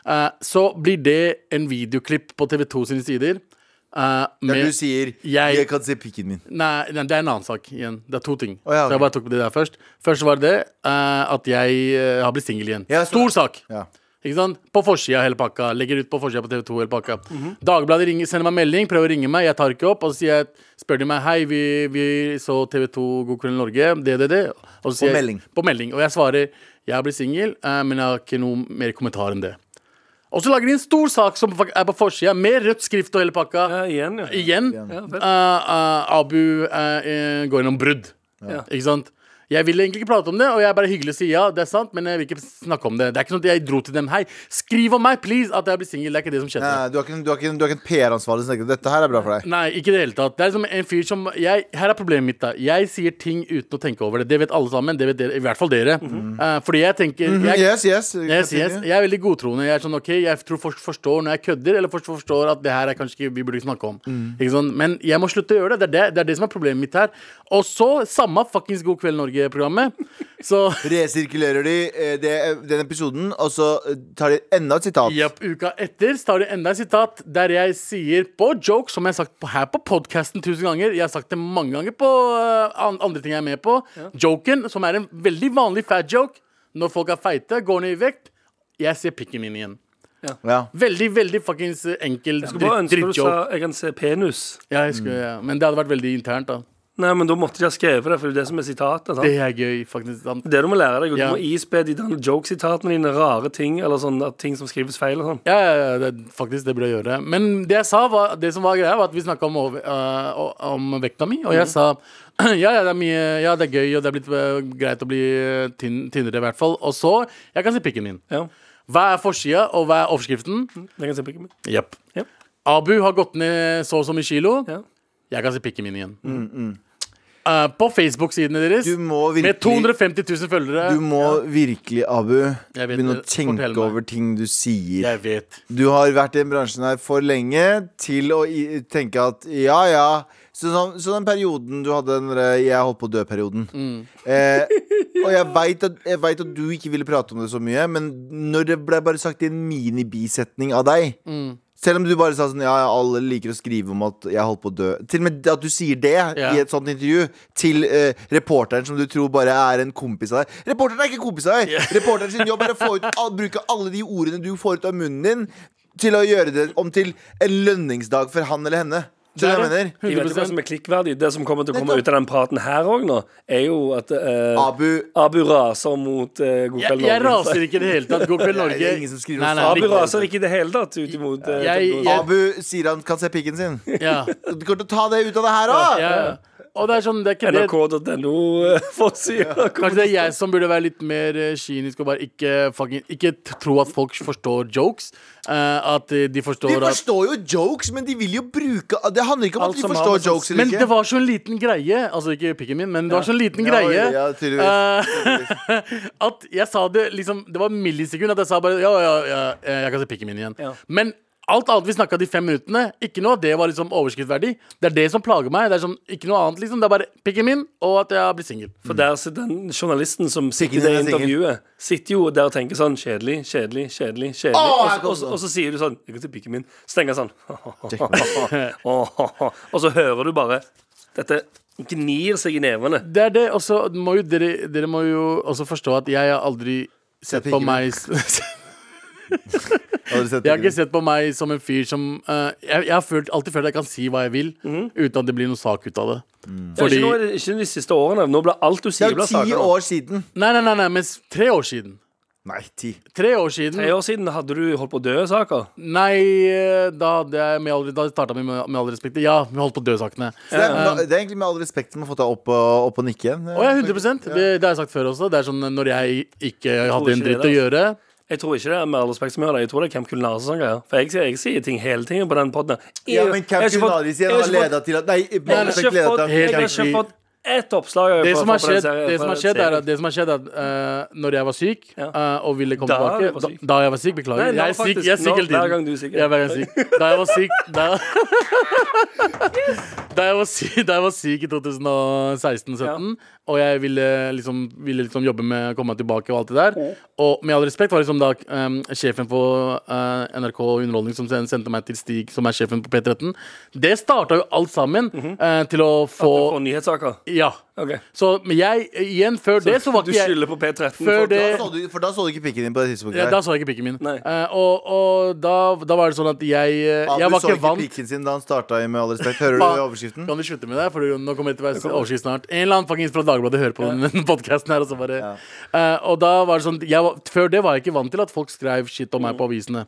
Eh, så blir det en videoklipp på TV2 sine sider. eh,
Der
med-
du sier
Jeg-
'Jeg kan se pikken min'.
Nei, nei, det er en annen sak igjen. Det er to ting.
Å, ja, ok.
Så jeg bare tok det der først. Først var det eh, at jeg eh, har blitt singel igjen.
Ja, så-
Stor sak.
Ja.
Ikke sant? På forsida av hele pakka. Legger ut på forsida på TV2 hele pakka. Dagbladet ringer, sender meg melding, prøver å ringe meg, jeg tar ikke opp. Og så sier jeg, spør de meg Hei, vi, vi så TV2 God kveld Norge, det, det, det. Og så sier jeg,
melding.
På melding. Og jeg svarer jeg har blitt singel, eh, men jeg har ikke noe mer kommentar enn det. Og så lager de en stor sak som fak- er på forsida, med rødt skrift og hele
Ja,
pakka.
igjen, ja.
Igjen.
vel.
Eh, eh, Abu eh, eh, går gjennom brudd.
Ja.
Ikke sant? Jeg vil egentlig ikke prate om det, og jeg er bare hyggelig å si ja, det er sant, men jeg vil ikke snakke om det. Det er ikke sånn at jeg dro til dem Hei, skriv om meg, please, at jeg blir singel. Det er ikke det som skjedde.
Nei, du har ikke, du har ikke, du har ikke en PR-ansvarlig som tenker 'dette her er bra for deg'.
Nei, ikke i det hele tatt. Det er som en fyr som jeg, Her er problemet mitt, da. Jeg sier ting uten å tenke over det. Det vet alle sammen. Det vet dere, I hvert fall dere.
Mhm.
Eh, fordi jeg tenker jeg,
Mm, Yes, yes.
Yes, yes. Jeg er veldig godtroende. Jeg er sånn, ok, jeg tror folk forstår når jeg kødder, eller folk forstår at det her er kanskje ikke vi burde ikke snakke om. Ikke sant? Men jeg må slutte å gjøre det. Det er det, det er det som er problemet mitt her. Og så, samme fuckings God kveld Norge-programmet, så
Resirkulerer de eh, det, den episoden, og så eh, tar de enda et sitat.
Japp, uka etter så tar du enda et sitat der jeg sier på joke, som jeg har sagt på, her på podkasten tusen ganger, jeg har sagt det mange ganger på øh, an- andre ting jeg er med på, joken, som er en veldig vanlig fat joke, når folk er feite, går ned i vekt, jeg ser pikken min igjen.
Ja.
Veldig, veldig fuckings eh, enkel
Jeg skulle bare
dritt-
ønske du sa
drittjoke.
'jeg kan se penis'.
Ja, jeg skulle, ja. Men det hadde vært veldig internt, da.
Nei, men da måtte de ha skrevet det, for det er det som er sitatet. sant?
Det er gøy, faktisk. Sant?
Det du må lære deg, og
Ja.
du må isbe de der joke-sitatene dine, rare ting, eller sånn at ting som skrives feil og sånn.
Ja, ja, ja det, er faktisk, det burde jeg gjøre. Men det jeg sa var, det som var greia, var at vi snakka om, over- øh, og- om vekta mi, og
Mhm.
jeg sa ja, ja, det er mye, ja, det er gøy, og det er blitt øh, greit å bli øh, tynn, tynnere, i hvert fall. Og så Jeg kan se pikken min.
Ja,
Hva er forsida, og hva er overskriften?
jeg kan se pikken min.
Jepp.
Ja.
Abu har gått ned så og så mye kilo.
Ja. Mhm.
Jeg kan se pikken min igjen. Eh, på Facebook-sidene deres,
Du må virkelig-
med 250 000 følgere
Du må virkelig, Abu,
Jeg vet
begynne å
det.
tenke
Fortell meg.
over ting du sier.
Jeg vet.
Du har vært i den bransjen her for lenge til å i, tenke at ja, ja. Så, sånn, så den perioden du hadde den derre 'jeg holdt på å dø'-perioden
Mm.
eh, Og jeg veit at, jeg vet at du ikke ville prate om det så mye, men når det ble bare sagt i en minibisetning av deg Selv om du bare sa sånn Ja, ja, alle liker å skrive om at jeg holdt på å dø. Til og med at du sier det
Ja.
i et sånt intervju til eh, reporteren som du tror bare er en kompis av deg. Reporteren er ikke kompis av deg! Reporteren sin jobb er å få ut, all, bruke alle de ordene du får ut av munnen din, til å gjøre det om til en lønningsdag for han eller henne. Skjønner du hva jeg mener?
Jeg vet ikke hva
100
som er klikkverdig. Det som kommer til å komme
Nettopp.
ut av den praten her òg nå, er jo at eh,
Abu
Abu raser mot eh, God
jeg,
kveld
jeg
Norge.
raser ikke i det hele tatt. God kveld,
Nei,
Norge.
det er ingen som skriver
Nei,
om
nei,
Abu
riktig.
raser ikke i det hele tatt ut imot eh,
Jeg-
Tom Nordnes.
jeg-
Abu sier han kan se pikken sin.
Ja,
Du kommer til å ta det ut av det her òg!
ja. Og det er sånn, det er ikke det
NRK.no eh, forside.
Kanskje det er jeg som burde være litt mer eh, kynisk og bare ikke, fucking, ikke t- tro at folk forstår jokes. eh, at eh, de
De
forstår at
forstår jo jokes, men de vil jo bruke Det handler ikke om
Alt
at de
som har
forstår
med sånn-
jokes eller
Men
ikke.
det var så en liten greie, altså ikke pikken min, men det var så en liten
Ja,
greie
ja, tydeligvis.
eh, At jeg sa det liksom Det var millisekund at jeg sa bare Ja, ja, ja, eh, jeg kan se pikken min igjen.
Ja.
Men alt annet vi snakka de fem minuttene, ikke noe av det var liksom overskriftverdig. Det er det som plager meg. Det er sånn, ikke noe annet liksom Det er bare pikken min, og at jeg har blitt singel.
For der sitter den journalisten som sitter i
Sikkert
det
er singel.
intervjuet, sitter jo der og tenker sånn kjedelig, kjedelig, kjedelig. kjedelig
Å,
og, så-
her kom
og, så-
den.
og så sier du sånn Jeg kan til pikken min. Så tenker han sånn Og så hører du bare Dette gnir seg i nevene.
Det er det, og så må jo dere, dere må jo også forstå at jeg har aldri sett på
pikken
meg
Har du sett
Jeg har ikke
pikken?
sett på meg som en fyr som eh, Jeg, jeg har følt, alltid følt at jeg kan si hva jeg vil,
Mhm.
uten at det blir noen sak ut av det.
Det er
Fordi
ikke, noe, ikke de siste årene. Nå blir alt du
Det
sier,
er
blir
jo
saker.
ti
nå.
år siden.
Nei, nei, nei, nei men s- tre år siden.
Nei, ti.
Tre år siden
Tre år siden hadde du holdt på å dø saker.
Nei, eh, da hadde jeg med all, Da starta vi med, med all respekt Ja, vi holdt på dødsakene.
Så det, er,
Eh.
det er egentlig med all respekt som har fått deg opp og, opp og nikke igjen.
Å ja, 100 det, det har jeg sagt før også. Det er sånn eh, når jeg ikke hadde
ikke
en dritt
det,
å gjøre.
Jeg tror ikke det er med all respekt som gjør det. Jeg tror det er Camp Culinari som greier. For jeg, jeg sier ting hele tiden på den podden.
Ja, men
Jeg har
Camp
ikke fått-
Culinaris igjen
jeg har
har
ikke fått-
ledet til at Nei,
jeg har ikke
Masterchef ledet
fått-
til at
Helt
Jeg har ikke
riktig.
fått ett oppslag.
Det som har
fra- fra den
skjedd,
serien-
det
fra
som har
den
skjedd, er
serien.
at, det som har skjedd er at eh, når jeg var syk
Ja.
eh, og ville komme
Da jeg var
tilbake
syk.
da, da jeg var syk, beklager.
Nei, nå
jeg er syk, jeg er
faktisk. Nå-
syk hele tiden.
hver gang du er syk, ja.
Jeg er hver gang syk. Da jeg var syk Da, da, jeg, var syk, da jeg var syk i 2016-17, og jeg ville liksom, ville liksom jobbe med å komme meg tilbake og alt det der Og med all respekt var liksom da eh, sjefen på eh, NRK Underholdning som sen- sendte meg til Stig, som er sjefen på P13, det starta jo alt sammen eh, til å få
Mhm. Du får nyhetssaker.
Ja.
Ok.
Så men jeg, igjen, før det så var
du
ikke jeg
skylder på P13.
Før
folk-
det-
Da så du- For da så du ikke pikken din på det tidspunktet.
ja,
her.
Da så jeg ikke pikken min.
Nei.
Eh, og og da, da var det sånn at jeg eh,
Ah,
Jeg
du
var
så
ikke
ikke
vant.
pikken sin da han starta i Med all respekt. Hører du
Faen.
overskriften?
Kan du slutte med det? For nå kommer jeg til å være overskrift snart. En eller annen fuckings fra Dagbladet hører på denne podcasten her. Og, så bare, Eh, og da var det sånn jeg var, Før det var jeg ikke vant til at folk skrev shit om meg på avisene.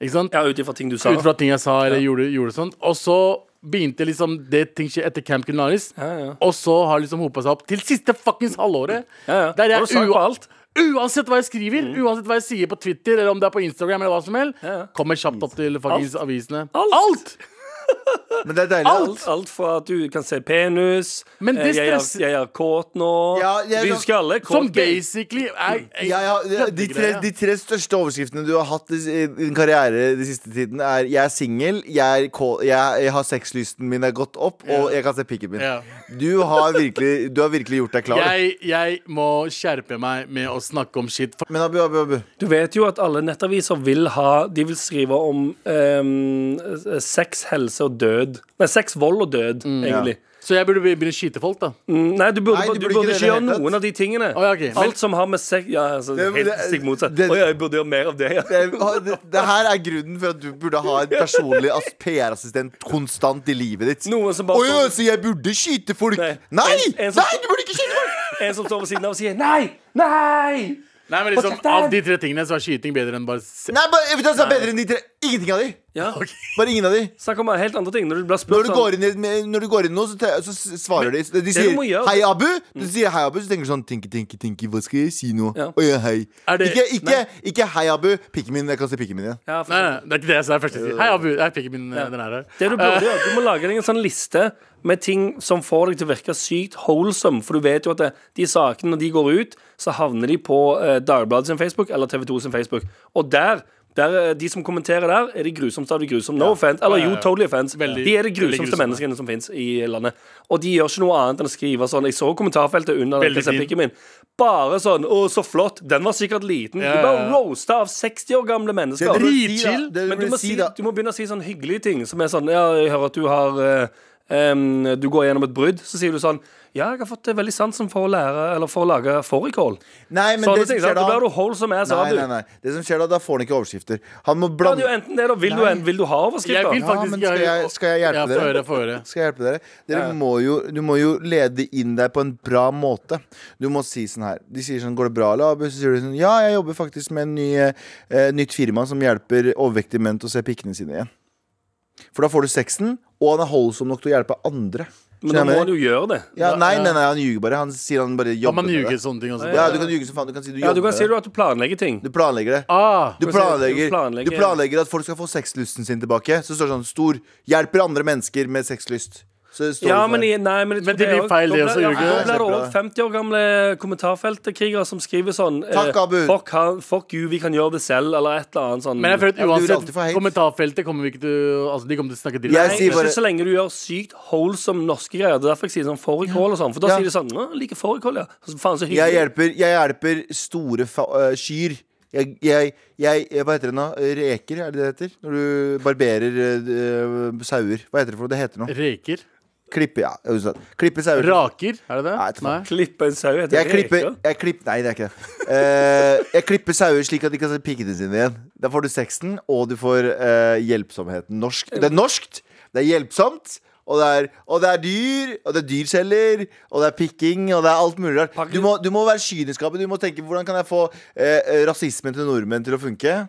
Ikke sant?
Mm. Ja, ut ifra ting du sa.
Ut fra ting jeg sa eller gjorde, gjorde sånt. Og så begynte liksom det ting skje etter Camp Culinaris.
ja.
Og så har liksom hopa seg opp til siste fuckings halvåret.
Ja, ja.
Der
Har du sagt
jeg
på
ua
alt?
Uansett hva jeg skriver, uansett hva jeg sier på Twitter eller om det er på Instagram, eller hva som helst
Ja, ja.
kommer kjapt opp til fuckings avisene.
Alt.
Men det er deilig.
Alt, alt fra at du kan se penis
Men
eh,
det
jeg, er,
stress-
jeg er kåt nå.
Ja, jeg-
vi husker alle kåt
Som
gay.
basically er, er
Jeg har, de, tre,
køddegreier.
de tre største overskriftene du har hatt i i din karriere de siste tiden, er 'jeg er singel', jeg, er kå- jeg, 'jeg har sexlysten min er gått opp', og 'jeg kan se pikken min'.
Ja.
Du, har virkelig, du har virkelig gjort deg klar.
jeg, jeg må skjerpe meg med å snakke om shit. For
Men Abu, Abu, Abu.
Du vet jo at alle nettaviser vil ha De vil skrive om ehm, sex, helse og død. Nei, sex, vold og død,
Mm.
egentlig.
så jeg burde be- begynne å skyte folk, da.
Mm, Nei, du burde,
Nei,
du
du
burde,
burde
ikke
ikke det i det
gjøre
hele tatt.
noen av de tingene.
Å, ja, ok. Men-
Alt som har med sex Ja, altså,
Det-
helt
det-
stikk motsatt.
det-
Å ja, jeg burde gjøre mer av det. Ja.
Det, det, det her er grunnen for at du burde ha en personlig ass- PR-assistent konstant i livet ditt.
Noen som bare-
Å ja, så jeg burde skyte folk?
Nei.
Nei!
En- en som-
Nei, du burde ikke skyte folk!
En som står ved siden av og sier nei, nei!
Nei, men liksom, Av de tre tingene så er skyting bedre enn bare se-
Nei, bare, vet du hva som er bedre enn de tre? Ingenting av de.
Ja.
Bare ingen av de.
Snakk om helt andre ting. Når du blir
Når
spurt sånn-
du går inn, i- når du går inn nå, så, te- så s- svarer de. De
du må
sier
gjøre-
'hei, Abu'. Du sier 'hei, Abu', så tenker du sånn 'tinki, tinki, tinki, hva skal jeg si nå?'
Mm. Ja.
Å ja, hei.
Er det-
ikke, ikke, ikke 'hei, Abu', pikken min. Jeg kan se pikken min igjen.
ja, for-
Nei, nei, det er ikke det jeg sa først. Jeg sier. Hei, Abu. Jeg fikk min, eh, den her.
Det du burde gjøre, du må lage deg en sånn liste med ting som får deg til å virke sykt wholesome. For du vet jo at det, de sakene, når de går ut, så havner de på eh, Dagbladet sin Facebook eller TV 2 sin Facebook. Og der, der eh, de som kommenterer der, er de grusomste av de grusomme. No offense. Eller
Ja, ja,
jo,
ja.
totally offense.
Veldig-
de er de
veldig
grusomste
grusomme.
menneskene som fins i landet. Og de gjør ikke noe annet enn å skrive sånn. Jeg så kommentarfeltet under den
Veldig fin.
pikken min. Bare sånn 'Å, så flott'. Den var sikkert liten.
Ja,
De
ja,
bare
ja.
roasta av 60 år gamle mennesker.
Det du burde si, da-
Dritchill,
det
Men du må,
burde si,
si,
da-
du må begynne å si sånn hyggelige ting Som er sånn, ja, jeg hører at du har eh, em, Du går gjennom et brudd Så sier du sånn, ja, jeg har fått eh, veldig sansen for å lære Eller for å lage fårikål
Nei, men
Sånne
det som
ting,
skjer
sant?
da
Da blir du wholesome ass,
Nei,
du
nei, nei. Det som skjer da, da får han ikke overskrifter. Han må
Ja, det
blande
er jo enten det, da vil du, en, vil du ha
Eh, Jeg
overskrifter
vil
Ja,
faktisk
men
ikke
skal jeg, skal jeg hjelpe
ja, få
dere?
høre, få høre.
Skal jeg hjelpe dere? Dere må jo, du må jo lede inn deg på en bra måte. Du må si sånn her De sier sånn 'Går det bra, Labu?' Så sier du sånn 'Ja, jeg jobber faktisk med en ny, eh, nytt firma som hjelper overvektige menn til å se pikkene sine igjen'. For da får du sexen, og han er holdsom nok til å hjelpe andre.
Men da
Skjønner
må
jeg
du
mener?
jo gjøre det
ja, nei, nei, nei, han ljuger bare. Han sier han bare
Kan
jobber
man
med
ljuge
det.
sånn ting også?
Ja, du kan ljuge som faen. Du kan si du
Ja,
jobber
du kan
med
si
det.
du at du planlegger ting
Du planlegger det.
Ah,
Du
Men så-
planlegger,
du planlegger-
du planlegger at folk skal få sexlysten sin tilbake. Så står det sånn stor 'Hjelper andre mennesker med sexlyst'. Så det står
ja,
det sånn
men,
her.
i- nei, men, jeg tror
Men det blir
er-
feil,
da
det
blir-
også,
ja,
Jørgen.
Da blir det
Kjempebra.
også 50 år gamle kommentarfeltkrigere Som skriver sånn eh,
Takk, Abu.
fuck, han- fuck you, vi kan gjøre det selv Eller et eller annet sånn
Mm. Men jeg
Ja,
føler at
men du vil
uansett
alltid få hate.
kommentarfeltet kommer vi ikke til Altså, de kommer til å snakke dritt.
Jeg
Nei,
sier
ikke
bare-
så lenge du gjør sykt wholesome norske greier. Det er derfor jeg sier sånn fårikål og sånn. For da
Ja.
sier de sånn Å, like fårikål, ja. Så faen så
Jeg
hyggelig.
hjelper, jeg hjelper store fa øh, kyr. Jeg, jeg, jeg, jeg, hva heter det nå? Reker, er det det heter? Når du barberer øh, øh, sauer. Hva heter det for noe? Det heter noe.
Reker.
Klippe, ja. jeg husker det. Klippe sauer.
Raker, er det det?
Nei, jeg vet ikke.
Klippe en sau heter
Jeg klipper,
reker.
jeg klipper Nei, det er ikke det. Eh, jeg klipper sauer slik at de kan se pikkene sine igjen. Da får du sexen, og du får eh, hjelpsomheten. Norsk. Det er norskt, det er hjelpsomt, og det er, og det er dyr, og det er dyrceller, og det er pikking, og det er alt mulig rart. Du eh, må, du må være kynisk, Abu. Du må tenke hvordan kan jeg få eh, rasismen til nordmenn til å funke?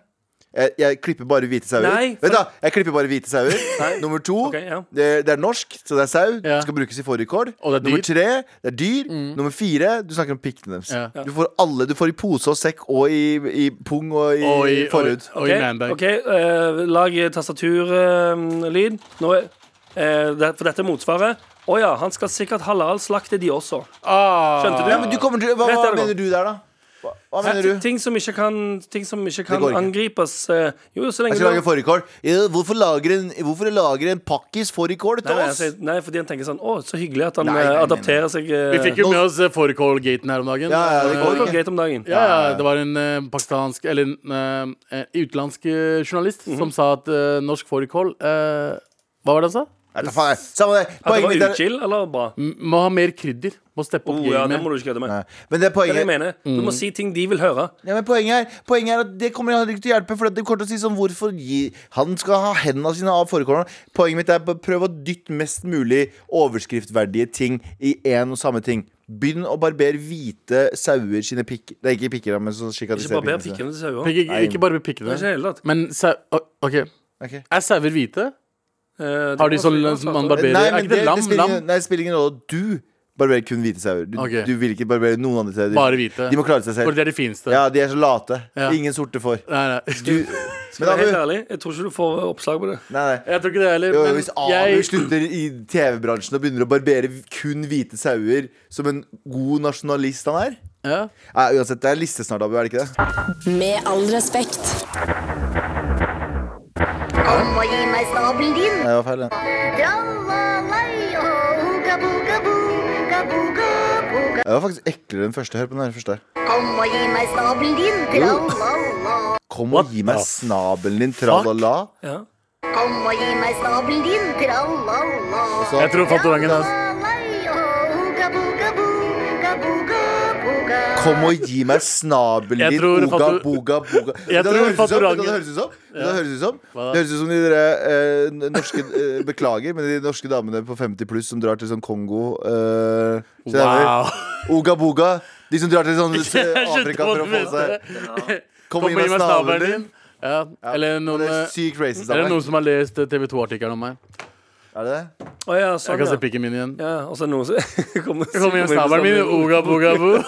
Jeg, jeg klipper bare hvite sauer.
Nei, for-
Vet du, da, jeg klipper bare hvite sauer.
Nei.
Nummer to,
Ok, ja.
det, det er norsk, så det er sau.
Ja.
Skal brukes i fårikål.
Og det er dyr.
Nummer tre, det er dyr. Nummer fire, du snakker om pikkene deres.
Ja. Ja.
Du får alle, du får i pose og sekk og i, i pung og i,
Og i-
forhud.
og- og i manbag.
ok, eh, lag tastaturlyd. Nå er- eh, det- for dette er motsvaret. Å ja, han skal sikkert halalslakte de også.
Ah,
Skjønte du?
Ja, men du kommer til, hva,
Rett
hva
er det
mener
godt.
du der, da? Hva, hva mener
Ting-
du?
Ting som ikke kan, ting som ikke kan
går ikke.
angripes. eh, jo, så lenge
Jeg skal lage
du
fårikål. Ja, Hvorfor lager en, hvorfor lager en pakkis fårikål
nei,
til
nei,
oss?
altså, nei, fordi han tenker sånn Å, så hyggelig at han
Nei, nei,
eh,
nei, nei.
adapterer seg. eh,
vi fikk jo med oss eh, fårikålgaten her om dagen.
Ja, ja, det
Eh,
det
går
går greit om dagen.
Ja, ja, det var en eh, pakistansk Eller en eh, eh, utenlandsk eh, journalist
Mhm.
som sa at eh, norsk fårikål eh, Hva var det han sa?
Nei, ta faen, jeg. Samme det.
At det
Poenget mitt
var
er
uchill eller bra?
M- Må ha mer krydder. Må steppe
Oh,
opp
ja,
gamet.
det må du ikke kødde med.
Nei, Mm. Men det er
Det er det
poenget.
jeg mener. Du må si ting de vil høre.
Ja, men poenget er, poenget er at det kommer han ikke til å hjelpe. For det kommer til å si sånn Hvorfor gi, Han skal ha hendene sine av fårikålen. Poenget mitt er bare prøv å dytte mest mulig overskriftverdige ting i én og samme ting. Begynn å barbere hvite sauer sine pikker Det er ikke pikker, da, men sånn slik at de
Ikke
ser
barber
pikkene sine.
pikkene til sauer.
Ikke, ikke, ikke bare
Ikke i det
pikkene.
hele tatt.
Men sau... o- OK.
Ok.
Er sauer hvite?
Eh,
Har de
det
sånn
var-
som man barberer?
Nei,
Er
men
ikke det
det,
lam?
det, spiller,
Lam?
ingen- nei, det spiller ingen rolle. Du barberer kun hvite sauer. Du,
Ok.
du vil ikke barbere noen andre sauer.
Bare hvite.
De må klare seg
For
selv.
det er det fineste.
Ja, de er så late.
Ja.
Ingen sorte får.
Nei, nei.
Du,
Skal jeg være
men
helt
Abu,
ærlig, jeg tror ikke du får oppslag på det.
nei, nei.
Jeg tror ikke det heller.
Jo,
men
hvis Abu
jeg-
slutter i TV-bransjen og begynner å barbere kun hvite sauer som en god nasjonalist han er
ja.
Nei, Uansett, det er liste snart, Abu. er det ikke det?
Med all respekt.
Kom og gi meg snabelen din.
Nei, det var feil. det.
Tralalai, oh, uga, buga, buga, buga, buga.
Det var faktisk eklere enn første. Hør på den her første.
Kom og gi meg snabelen din.
Jo.
Tralala.
Kom og
What
gi meg
the
snabelen din, tralala.
Ja.
Kom og gi meg snabelen din. Tralala.
Jeg tror Fantorangen hans
Tralalai, oh, uga, buga, buga, buga, buga.
Kom og gi meg snabelen
Jeg
din,
tror
oga,
Fatou-
boga, boga.
Jeg
Vet du hva
tror
det høres ut som? Vet du hva
Fatorangen-
Det høres ut som Vet du hva det høres ut som
Hva da?
Det høres ut som de der, eh, n- norske eh, Beklager, men de norske damene på 50 pluss som drar til sånn Kongo. eh, så det er
Wow.
det. Oga boga. De som drar til sånn eh,
Jeg skjønte
Afrika
hva
for å
du
få
mente.
seg Kom
Kom
og gi meg snabelen din.
Ja. Eller noen
Det er
eh,
sykt racist av
eller noen
meg. Sånn,
som har lest eh, TV 2-artikkelen om meg.
Er det det?
Å ja,
Jeg
sånn,
kan se
ja.
pikken min igjen.
ja. Og så er det noen som kommer sånn
Kom igjen, snabelen min. Oga, boga, bo.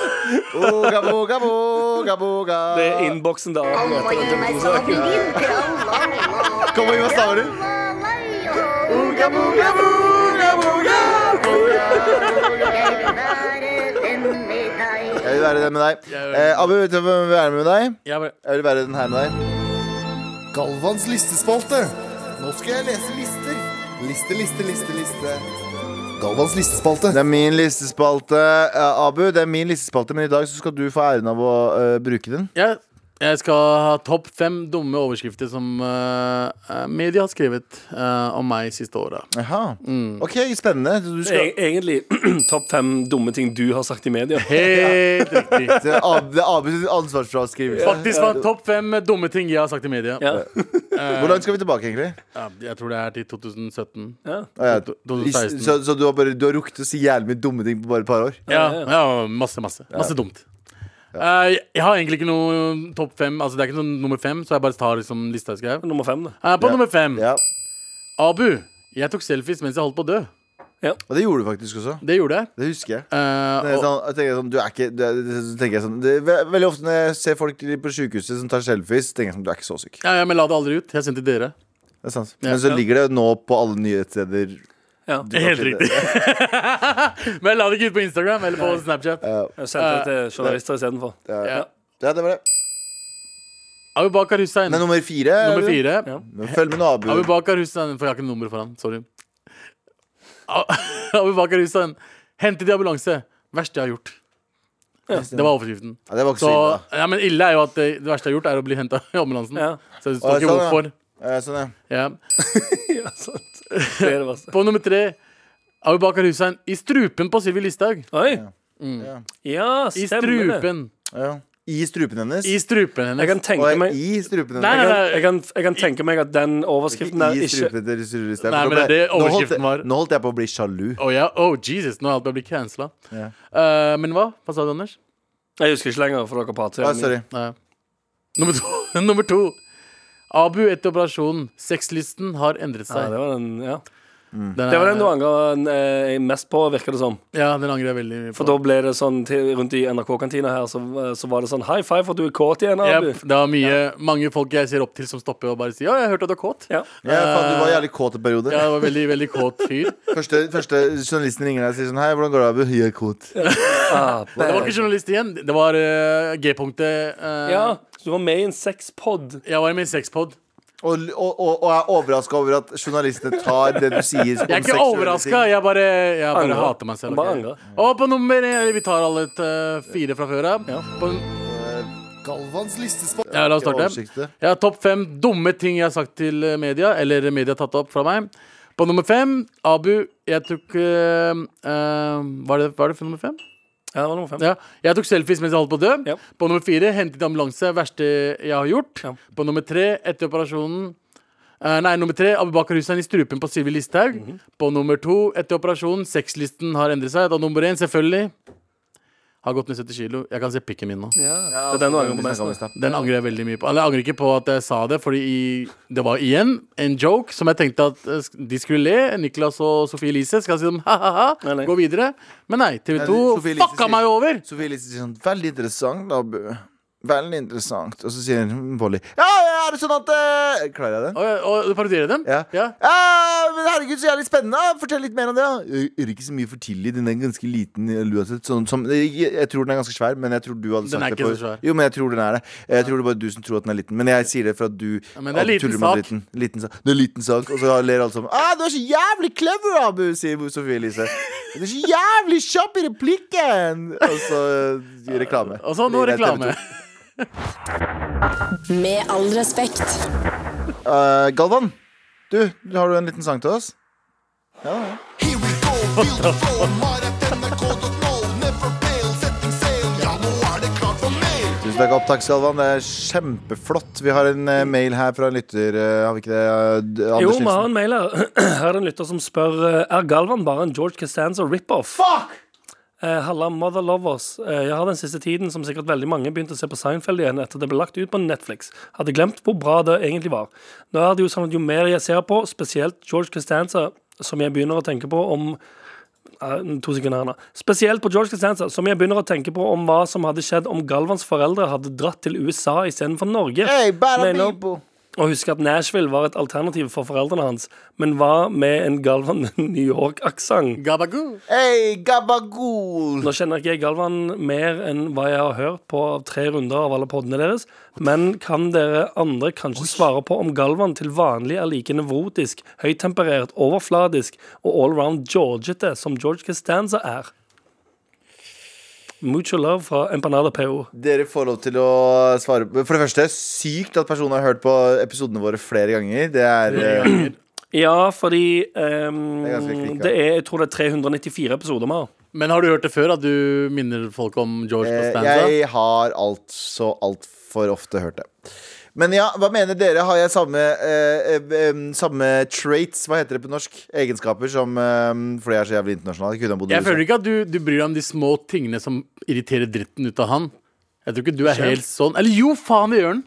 Oga boga boga boga.
Det er innboksen der.
Kom og gi meg sånn. snabelen din. Tralala.
Kom og gi meg snabelen din.
Tralalai, oh, uga, buga, buga, buga, buga. Jeg vil være
Jeg vil være
venn med deg.
den med deg.
Jeg vil-
Eh, Abu, vet du hvem jeg vil være med deg?
Jeg bare
Jeg vil være den her med deg. Galvans listespalte. Nå skal jeg lese lister. Liste, liste, liste, liste. Galvans listespalte. Det er min listespalte. Eh, Abu, det er min listespalte, men i dag så skal du få æren av å eh, bruke den.
jeg, jeg skal ha topp fem dumme overskrifter som eh, eh, media har skrevet eh, om meg siste året.
Jaha. OK, spennende. Du skal...
Egentlig topp fem dumme ting du har sagt i media.
Helt riktig.
Det er Abu- det er Abus ansvarsfraskrivelse.
Faktisk var topp fem dumme ting jeg har sagt i media.
Ja.
Hvor langt Eh, skal vi tilbake, egentlig?
Ja, jeg tror det er til 2017.
Ja.
Ah, ja.
To- 2016.
Så, så du, har bare, du har rukket å si jævlig mye dumme ting på bare et par år?
Ja, ja masse, masse. Masse dumt. Eh, jeg- jeg har egentlig ikke noe topp fem. Altså, det er ikke sånn nummer fem, så jeg bare tar liksom lista jeg skrev.
Nummer fem, da.
Eh, på nummer fem.
Ja.
Abu. Jeg tok selfies mens jeg holdt på å dø.
Og det gjorde du faktisk også.
Det gjorde jeg.
Det husker jeg.
Eh,
Det er
og,
sånn, jeg tenker sånn, du er ikke du er, så tenker jeg sånn, det, er ve- Veldig ofte når jeg ser folk på sykehuset som tar selfies, tenker jeg sånn, du er ikke så syk.
ja, ja, men la det aldri ut. Jeg sendte dere.
Det er sant.
Ja,
Men så
ja.
ligger det nå på alle nyhetssteder.
Ja.
Du kan si
Helt
det.
riktig. Men la det ikke ut på Instagram eller på Snapchat.
Jeg sendte det
Eh,
til journalister istedenfor.
Ja.
Ja, det var det.
Abu Bakar Hussein.
Men
Nummer
nummer fire. er det?
fire.
Ja.
Men følg med nå, Abu.
Abu Bakar Hussein For jeg har ikke nummeret for han. Sorry. A- Abu Bakar Hussein. Hentet i ambulanse. Verste jeg har gjort. Det var overskriften.
Ja, det var ikke
Så,
så ille. da.
ja, men ille er jo at det, det verste jeg har gjort, er å bli henta i ambulansen.
Ja.
Så det
Å,
står
sånn,
ikke
ja.
hvorfor.
Eh, Sånn, ja.
Ja.
Ja, sant. Det er det verste.
På nummer tre Abu Bakar Hussein i strupen på Sylvi Listhaug.
Oi!
Mm.
Ja.
Ja,
I
stemmer det.
strupen.
ja. I strupen hennes.
I strupen
Jeg kan
hennes.
Og
tenke
jeg
meg
i strupen
Nei,
jeg
hennes.
kan, jeg, kan, jeg kan tenke meg at den overskriften der
I
ikke
strupen til Sylvi Listhaug.
Nei,
for nå
men
ble-
det er det
nå holdt
overskriften
jeg-
var.
Nå holdt jeg på å bli sjalu.
Oh, ja. oh Jesus, nå er alt bare blitt cancela.
Ja.
Eh, men hva? Hva sa du, Anders?
Jeg husker ikke lenger, for dere prater.
Ah, sorry.
Nei. Nummer to. nummer to. Abu etter operasjonen. Sexlisten har
Ja,
endret seg.
det var den, ja.
Den
Det var
er-
den du angra eh, mest på, virker det som.
Ja, den angrer jeg veldig mye
For
på.
da ble det sånn til, rundt i NRK-kantina her, så, så var det sånn High five for at du er kåt igjen, Abu.
Jep, det er mye, mange folk jeg ser opp til som stopper og bare sier Ja, jeg hørte at du er kåt.
Ja.
Ja, faen, du var jævlig kåt en periode.
Ja, jeg var veldig, veldig kåt fyr.
Første, første journalisten ringer deg og sier sånn Hei, hvordan går det, Abu? Jeg er kåt.
Ah,
Det var ikke journalist igjen. Det var eh, G-punktet. eh,
ja, så du var med i en sexpod.
Jeg var med i sexpod.
Og, og, og, og er overraska over at journalistene tar det du sier. som
Jeg er ikke
seksuelle
overraska. Jeg bare, jeg bare
Angrer.
hater meg selv.
Bare
ok?
angrer.
Og på nummer Vi tar alle et, eh, fire fra før av. På-
ting. Galvans listespalte.
Ja, la oss starte.
Oversiktet.
Ja, Topp fem dumme ting jeg har sagt til eh, media, eller media har tatt opp fra meg. På nummer fem, Abu. Jeg tok eh, eh, Var det, var det for nummer fem?
Ja, det var nummer fem.
Ja. Jeg tok selfies mens jeg holdt på å dø.
Ja.
På nummer fire hentet ambulanse. Verste jeg har gjort.
Ja.
På nummer tre etter operasjonen eh, Nei, nummer tre Abubakar Hussein i strupen på Sylvi Listhaug.
Mhm.
På nummer to etter operasjonen sexlisten har endret seg. Da nummer én selvfølgelig har gått ned 70 kilo. Jeg kan se pikken min nå.
Ja. Det er den du angrer på
Vi snakket om i
mest.
stad.
Den angrer jeg veldig mye på. Eller jeg angrer ikke på at jeg sa det, Fordi i, det var igjen en joke som jeg tenkte at eh, sk- de skulle le. Niklas og Sofie Elise skal si sånn, dem ha-ha-ha,
Nei, nei.
gå videre. Men nei, TV
Nei,
2
Sophie Elise
fucka
sier-
meg over!
Sofie Elise sier sånn Veldig interessant, da, Abu. Veldig interessant. Og så sier hun Volley. Ja, er det sånn at eh, Klarer jeg den?
Og, og du parodierer dem?
Ja.
ja.
«Ja, men herregud, så jævlig spennende! Fortell litt mer om det. da.» Jeg gjør ikke så mye for tidlig. Den er ganske liten. uansett. Sånn, som, jeg, jeg tror den er ganske svær, men jeg tror du hadde
Den
sagt
er
det
ikke
for-
så svær.
Jo, men jeg tror den er det. Jeg tror det er bare du som tror at den er liten. Men jeg sier det for at du
men det er
at du
liten
tuller med
sak.
Liten, liten sak. Det er liten sak. Og så ler alle sammen. Ah, 'Du er så jævlig clever, Abu', sier Sofie Elise. 'Du er så jævlig kjapp i replikken'. Og så eh, reklame.
Og så nå
Det er TV2.
reklame.
Med all respekt.
Eh, Galvan, du, har du en liten sang til oss? Ja, ja.
Here we go, feel the flow. Mar.nrk.no, never fail, setting sail. Ja, nå er det klart for mer.
Tusen takk, opptak, Galvan. Det er kjempeflott. Vi har en eh, mail her fra en lytter. eh, har vi ikke det, eh, d-
Jo, vi
Anders
har
Nilsen?
en mail her. Her er det en lytter som spør eh, Er Galvan bare en George Costanza rip-off. Eh, Halla, mother lovers. Eh, Jeg har den siste tiden, som sikkert veldig mange, begynt å se på Seinfeld igjen etter det ble lagt ut på Netflix. Hadde glemt hvor bra det egentlig var. Nå er det jo sånn at jo mer jeg ser på, spesielt George Costanza, som jeg begynner å tenke på om Eh, To sekunder her nå. Spesielt på George Costanza, som jeg begynner å tenke på om hva som hadde skjedd om Galvans foreldre hadde dratt til USA istedenfor Norge.
Hey, bada
Mener-
bibo.
og husk at Nashville var et alternativ for foreldrene hans, men hva med en Galvan med New York-aksent?
Gabagoo.
Hey, gabagool.
Nå kjenner ikke jeg Galvan mer enn hva jeg har hørt på av tre runder av alle poddene deres, men kan dere andre kanskje svare på om Galvan til vanlig er like nevrotisk, høytemperert, overfladisk og allround georgete som George Costanza er? Mucho love fra Empanada PO.
Dere får lov til å svare. på- For det første, sykt at personen har hørt på episodene våre flere ganger. Det er eh,
Ja, fordi ehm,
Det er ganske klikk, ja.
det er, Jeg tror det er 394 episoder vi har.
Men har du hørt det før at du minner folk om George
Eh,
Costanza?
Jeg har altså altfor ofte hørt det. Men ja, hva mener dere? Har jeg samme, eh, eh, em, samme traits, hva heter det på norsk? Egenskaper som eh, Fordi jeg er så jævlig internasjonal. Jeg kunne ha bodd i
Jeg føler
USA.
ikke at du, du bryr deg om de små tingene som irriterer dritten ut av han. Jeg tror ikke du er helt sånn. Eller jo, faen, det gjør han!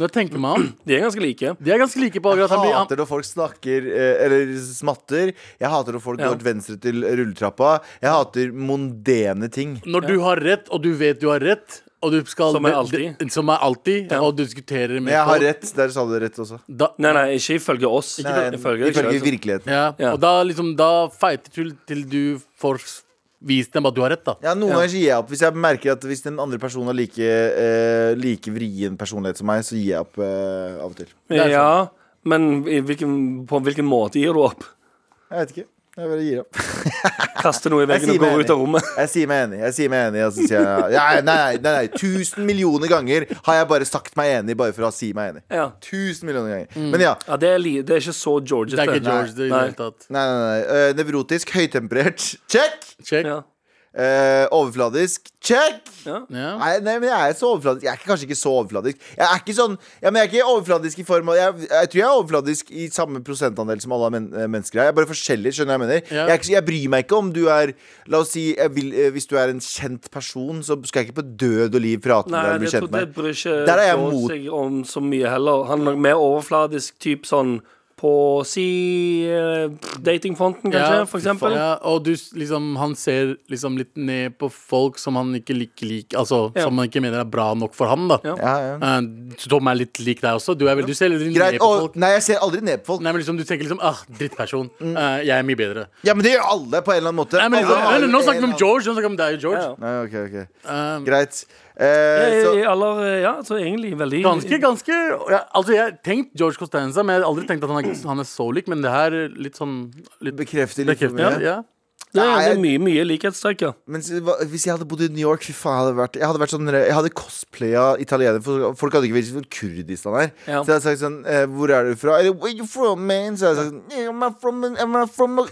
Når jeg tenker meg om.
De er ganske like.
De er ganske like på
Jeg
akkurat han blir
hater
han,
når folk snakker eh, eller smatter. Jeg hater når folk
Ja.
går venstre til rulletrappa. Jeg hater mondene ting.
Når du har rett, og du vet du har rett, og du skal
Som er alltid.
de- Som er alltid Og du diskuterer med
Men jeg har
folk,
rett. Der sa du rett også.
Da,
Nei, nei, ikke ifølge oss.
Nei,
ifølge, altså.
ifølge virkeligheten.
ja,
Ja.
Og da liksom Da fighter du til du får vist dem at du har rett, da.
Ja, Noen ganger så gir jeg opp. Hvis jeg merker at hvis den andre personen har like, eh, like vrien personlighet som meg, så gir jeg opp eh, av og til.
Ja, men i hvilken, på hvilken måte gir du opp?
Jeg vet ikke. Jeg bare gir opp.
Kaster noe i veggen og
sier meg
går ut av
enig.
rommet?
Jeg sier meg enig. Jeg sier meg enig Og så sier jeg nei, nei, nei, nei, nei. Tusen millioner ganger har jeg bare sagt meg enig bare for å si meg enig.
Ja,
Tusen millioner ganger. Men ja.
ja det, er li, det er ikke så George.
Det er ikke
dette.
George det i det
Nei.
hele tatt.
Nei, nei, nei. Eh, nevrotisk, høytemperert. Check!
Check.
Ja.
Eh, overfladisk. Check!
Ja.
Ja.
Nei, nei, men jeg er så overfladisk. Jeg er kanskje ikke så overfladisk. Jeg er ikke sånn Ja, men jeg er ikke overfladisk i form av Jeg, jeg tror jeg er overfladisk i samme prosentandel som alle men, eh, mennesker er. Jeg er bare forskjellig, skjønner du hva jeg mener.
Ja.
Jeg, er ikke, jeg bryr meg ikke om du er La oss si jeg vil, eh, hvis du er en kjent person, så skal jeg ikke på død og liv prate
Nei,
med deg eller
det,
bli
tror,
kjent
det
med deg.
bryr ikke
Der er jeg
Bård
mot-
seg om så mye heller. Han er nok mer overfladisk typ sånn på si eh, datingfronten, kanskje,
Ja,
for eksempel.
Ja, og du, s- liksom, han ser liksom litt ned på folk som han ikke liker lik, altså,
Ja.
som han ikke mener er bra nok for ham. da
Ja.
Ja, ja.
Eh, Tom er litt lik deg også. Du, er vel, du ser litt ned
Greit.
på
Å,
folk.
nei, jeg ser aldri ned på folk.
Nei, men liksom, du tenker liksom ah, drittperson.
Mm.
Eh, jeg er mye bedre.
Ja, men det gjør alle på en eller annen måte.
Nei, men
Alle
liksom,
har
nei,
jo
nå
en
snakker vi
eller
om George. Nå snakker vi om deg, George.
Ja.
annen- Nei, ok, ok.
Eh,
Greit.
Eh,
Eh,
i
så
aller, eh, ja, så egentlig veldig
Ganske, ganske ja, Altså, jeg har tenkt George Costanza, men jeg har aldri tenkt at han er, han er så lik, men det her er litt sånn litt
bekrefter litt for
bekreftet. Ja,
mye.
ja.
Det, det
Nei,
er mye, mye likhetstrekk, ja.
Men s- hva- hvis jeg hadde bodd i New York Fy faen, jeg hadde vært Jeg hadde, vært sånn, jeg hadde cosplaya italiener for Folk hadde ikke visst hvor Kurdistan er
Ja.
Så jeg hadde sagt sånn eh, Hvor er du fra? Eller, where you from, man? Så jeg hadde sagt yeah, I'm from, I'm from, uh,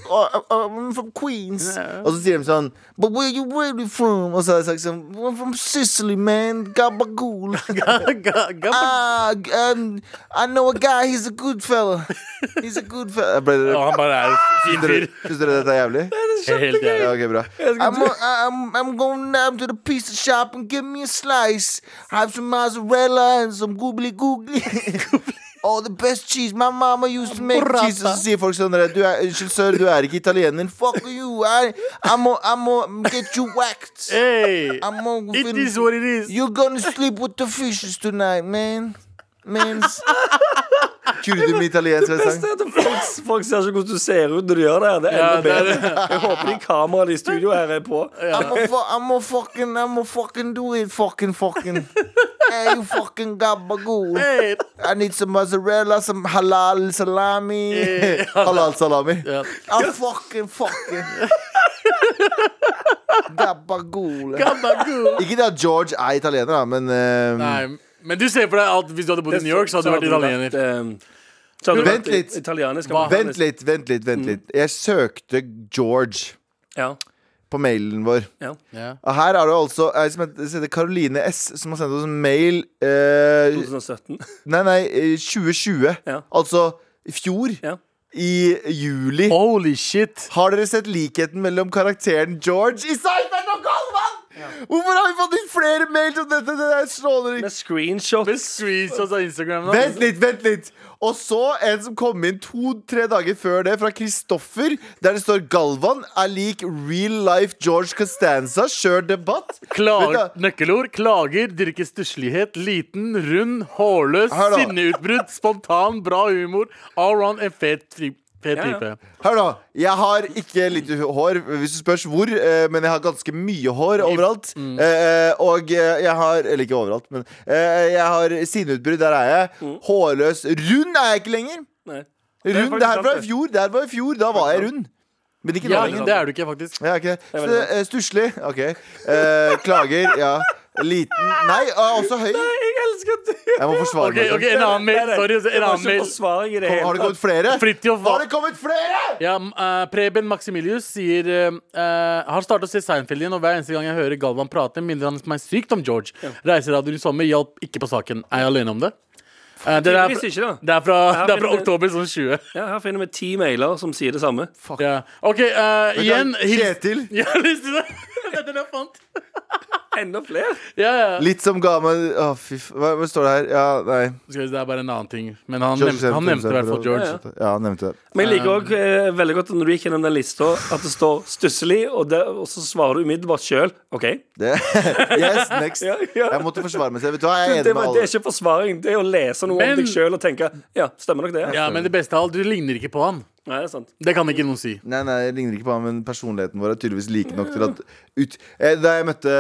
uh, I'm from Queens
Ja.
Og så sier de sånn But where you really from? Og så hadde jeg sagt sånn I'm from Sicily, man Gabagool
Ga- ga-
Ah, g- um, I know a guy, he's a good fella He's a good fella Ble
Ja,
dere
Ah.
han bare er en fin
Synes
fyr.
dere- synes dere dette er jævlig?
Helt jævlig.
Ja, ok, bra. I'm, I'm, I'm going down to the pizza shop and give me a slice. Have some mozzarella and some googly googly. Oh, the best cheese. My mama used to make
Burrata.
cheese. Og så sier folk sånn der, du er, Unnskyld, sir, du er ikke italiener. Fuck you. I, I'm gonna I'm gonna get you whacked.
Hey,
I'm gonna
it
fin-
is what it is.
You're gonna sleep with the fishes tonight, man. Mens Kurde med italiensk er sang.
Det er at folk, folk ser ikke hvordan du ser ut når du gjør det. her. Det er
Ja,
enda
det er
bedre. Jeg håper de kameraene i studio her er på.
I'm a, fu- I'm a fucking, I'm a fucking do it, fucking, fucking. hey, you fucking gabagool.
Hey.
I need some mozzarella, some halal salami.
Eh,
halal salami.
Ja.
I'm fucking, fucking. gabagool.
Gabagool.
Ikke det at George er italiener, da, men ehm,
Nei, men du ser for deg at hvis du hadde bodd i New York, så hadde du vært
vært,
italiener.
eh, Så hadde du
Vent
vært
litt.
i- italiensk.
Hva-
amerikansk.
Vent litt, vent litt,
Mm.
vent litt. Jeg søkte George
Ja,
på mailen vår.
ja.
Ja.
Og her er det altså ei som heter som heter Caroline S, som har sendt oss en mail eh,
2017.
Nei, nei, eh, 2020.
Ja.
Altså i fjor.
Ja.
I juli.
Holy shit.
Har dere sett likheten mellom karakteren George i Seinfeld og Galvan? Hvorfor har vi fått inn flere mails om dette? Det er slående
Med screenshots.
Screenshots av Instagram. Da.
Vent litt, vent litt Og så en som kom inn to-tre dager før det Fra Kristoffer Der det står Galvan er lik real life George Costanza Kjør debatt
Klar,
Vent da.
nøkkelord. Klager, dyrker stusslighet, liten, rund, hårløs,
Her da.
sinneutbrudd, spontan, bra humor. Allround en fet tri- fet
Ja, ja.
type.
Hør nå, jeg har ikke litt hår Hvis du spørs hvor eh, Men jeg har ganske mye hår overalt eh, Og eh, jeg har, eller ikke overalt Men eh, jeg har sinneutbrudd, der er jeg Hårløs, rund er jeg ikke lenger
Nei. er
Rund,
faktisk
det her var
sant,
i
det.
fjor Det her var i fjor, da var jeg rund Men ikke nå
Ja,
lenger
det er du ikke, faktisk.
Ja, ok.
er
Så,
veldig sant.
eh, Stusslig. Ok. Eh, klager. Ja. Liten. Nei, eh, også høy.
Jeg elsker at du
Jeg må forsvare
Ok,
meg. sånn.
ok, En annen mail.
Nei, nei,
Sorry. altså,
det
en
var
annen
ikke
mail
forsvaring i det
Har det
hele
kommet flere?
Fritjof
Har
Wa-
det kommet flere?!
ja, m- eh, Preben Maximilius sier eh, eh, Har startet å se Seinfeld igjen, og hver eneste gang jeg hører Galvan prate, minner han meg sykt om George. Reiseradioen i sommer hjalp ikke på saken. Er jeg alene om det? Eh, det, er
Tydeligvis
fra,
ikke, da.
det er fra,
Ja,
det er fra
men-
oktober sånn 20.
Ja, her finner vi ti mailer som sier det samme.
Ja. OK, eh, igjen hils-
Kjetil.
Ja, lyst til det. Det er den jeg fant.
Enda flere.
Ja, ja.
Litt som ga meg Å, fy f... Hva, hva står det her? Ja, nei.
Skal vi se, Det er bare en annen ting. Men han
George
nevnte, han
Sentrum,
nevnte i hvert fall
Sentrum.
George.
Ja,
Ja, han nevnte det.
Men jeg liker
Um.
også eh, veldig godt når du gikk gjennom den lista, at det står 'stusslig', og, det, og så svarer du umiddelbart sjøl. OK.
det. Yes, next.
Ja, ja.
Jeg måtte forsvare meg selv. Vet du hva, jeg er
Det,
enig med
var, det
alle.
er ikke forsvaring. Det er å lese noe
Men-
om deg sjøl og tenke Ja, stemmer nok det?
Ja, Men det beste av alt, du ligner ikke på han.
Nei, det er sant.
Det kan ikke noen si.
Nei, nei, jeg ligner ikke på ham, men personligheten vår er tydeligvis like nok til at ut, eh, Da jeg møtte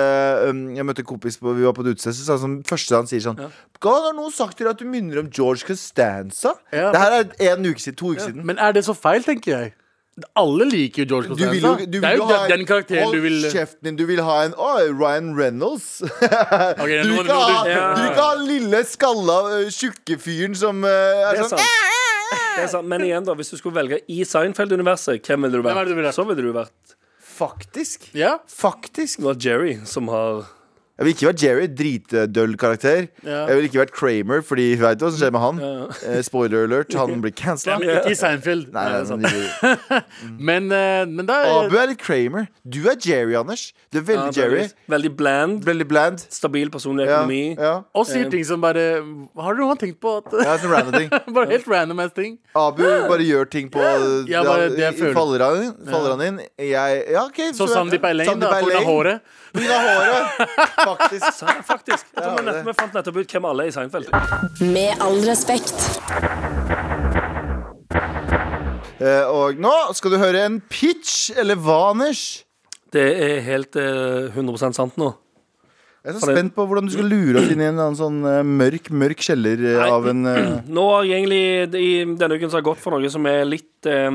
um, Jeg møtte en kompis på, vi var på et utested, så sa han sånn første han sier sånn Galvan, har noen sagt til deg at du minner om George Costanza?
Ja.
Det her er en uke siden, to uker siden.
Men er det så feil, tenker jeg? Alle liker jo George
Du vil jo,
Costanza.
du
det er
vil
jo
jo ha
den, den karakteren
hold
du vil
kjeften din, du vil ha en Å, Ryan Reynolds. du,
Ok,
vil
nå-
ikke
nå-
ha,
du-
Ja.
du vil ikke ha den lille, skalla, øh, tjukke fyren som øh,
Det
er
er
sånn
sant. Det er sant. Men igjen, da, hvis du skulle velge i Seinfeld-universet, hvem ville du
Hvem er det du
vært?
ville vært?
Så ville du vært
Faktisk.
Ja?
Faktisk.
Det var Jerry som har
Jeg vil ikke vært Jerry, dritdøll karakter.
Ja.
Jeg vil ikke vært Kramer, fordi vi veit hva som skjer med han. Eh, spoiler alert, han blir cancela.
Men Ikke i Seinfeld.
Nei, nei, nei, nei.
Men, eh, men det er
Abu er litt Kramer. Du er Jerry, Anders. Du er veldig Jerry.
Veldig bland.
Veldig bland.
Stabil personlig
Ja,
økonomi.
ja.
Og sier ting som bare Har du noen gang tenkt på at
ja sånn random ting.
Bare helt random ass ting.
Abu bare gjør ting på
Ja, bare det jeg føler.
Faller han inn? Faller han inn? Jeg Ja, OK.
Så
vet
Sandeep
jeg.
Elaine,
Sandeep
da, pga.
Elaine.
håret.
På grunn av håret, faktisk.
Ja, faktisk. Jeg tror
Ja,
vi, nett,
det.
vi fant nettopp ut hvem alle er i Seinfeld.
Med all respekt.
Eh, og nå skal du høre en pitch, eller hva, Anders?
Det er helt eh, 100 sant nå.
Jeg er så
For det-
spent på hvordan du skal lure oss inn i en annen sånn eh, mørk mørk kjeller eh,
Nei.
av en eh,
Nå har jeg egentlig i denne uken så har jeg gått for noe som er litt eh,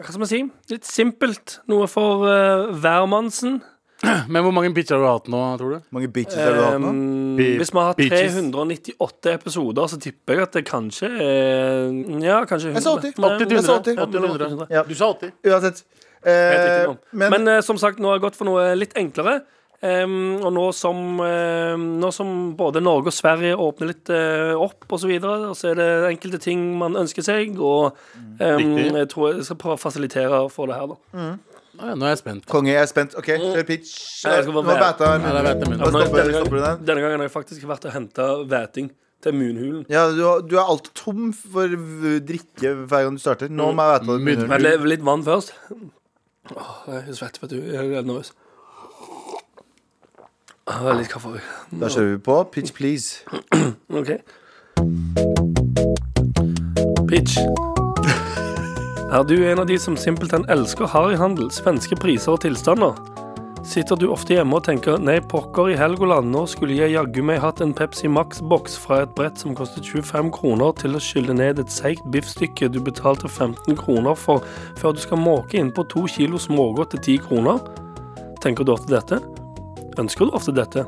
Hva skal man si? Litt simpelt. Noe for eh, hvermannsen.
Men hvor mange bitcher har du hatt nå, tror du?
mange bitches har du hatt nå?
Um,
Be-
hvis vi har
bitches.
398 episoder, så tipper jeg at det kanskje er Ja, kanskje
Jeg sa
100.
80.
Nei,
80
Jeg sa 80.
100.
Ja.
Du sa 80.
Uansett.
Helt riktig,
Eh,
Tom.
men,
men eh, som sagt, nå har jeg gått for noe litt enklere. Em, og nå som, eh, nå som både Norge og Sverige åpner litt eh, opp, og så, videre, og så er det enkelte ting man ønsker seg. Og
Mm.
em,
Riktig.
jeg tror jeg skal prøve å fasilitere for det her, da.
Å ja, nå er jeg spent.
konge, jeg er spent. OK, kjør pitch.
Mm. Nei, jeg skal bare
Nå
være-
bæta jeg
Nei, det
munnen.
vet jeg, men.
Bare
Nå-
stopper-
denne,
stopper du den?
gangen, denne gangen har jeg faktisk vært og henta væting til munhulen.
Ja, du, har- du er alltid tom for v- drikke hver gang du starter. Nå må jeg bæta
Munn.
munnen.
Men det er litt vann først. Åh, jeg er svett, vet du. Jeg er nervøs. Ah, Litt kaffe òg.
Da kjører vi på. Pitch please.
Mm, OK. Pitch. Er du en av de som simpelthen elsker harryhandel, svenske priser og tilstander? Sitter du ofte hjemme og tenker 'nei, pokker i Helgoland, nå skulle jeg jaggu meg hatt en Pepsi Max-boks fra et brett som kostet 25 kroner, til å skylle ned et seigt biffstykke du betalte 15 kroner for, før du skal måke innpå to kilo smågodt til 10 kroner? Tenker du ofte dette? Ønsker du ofte dette?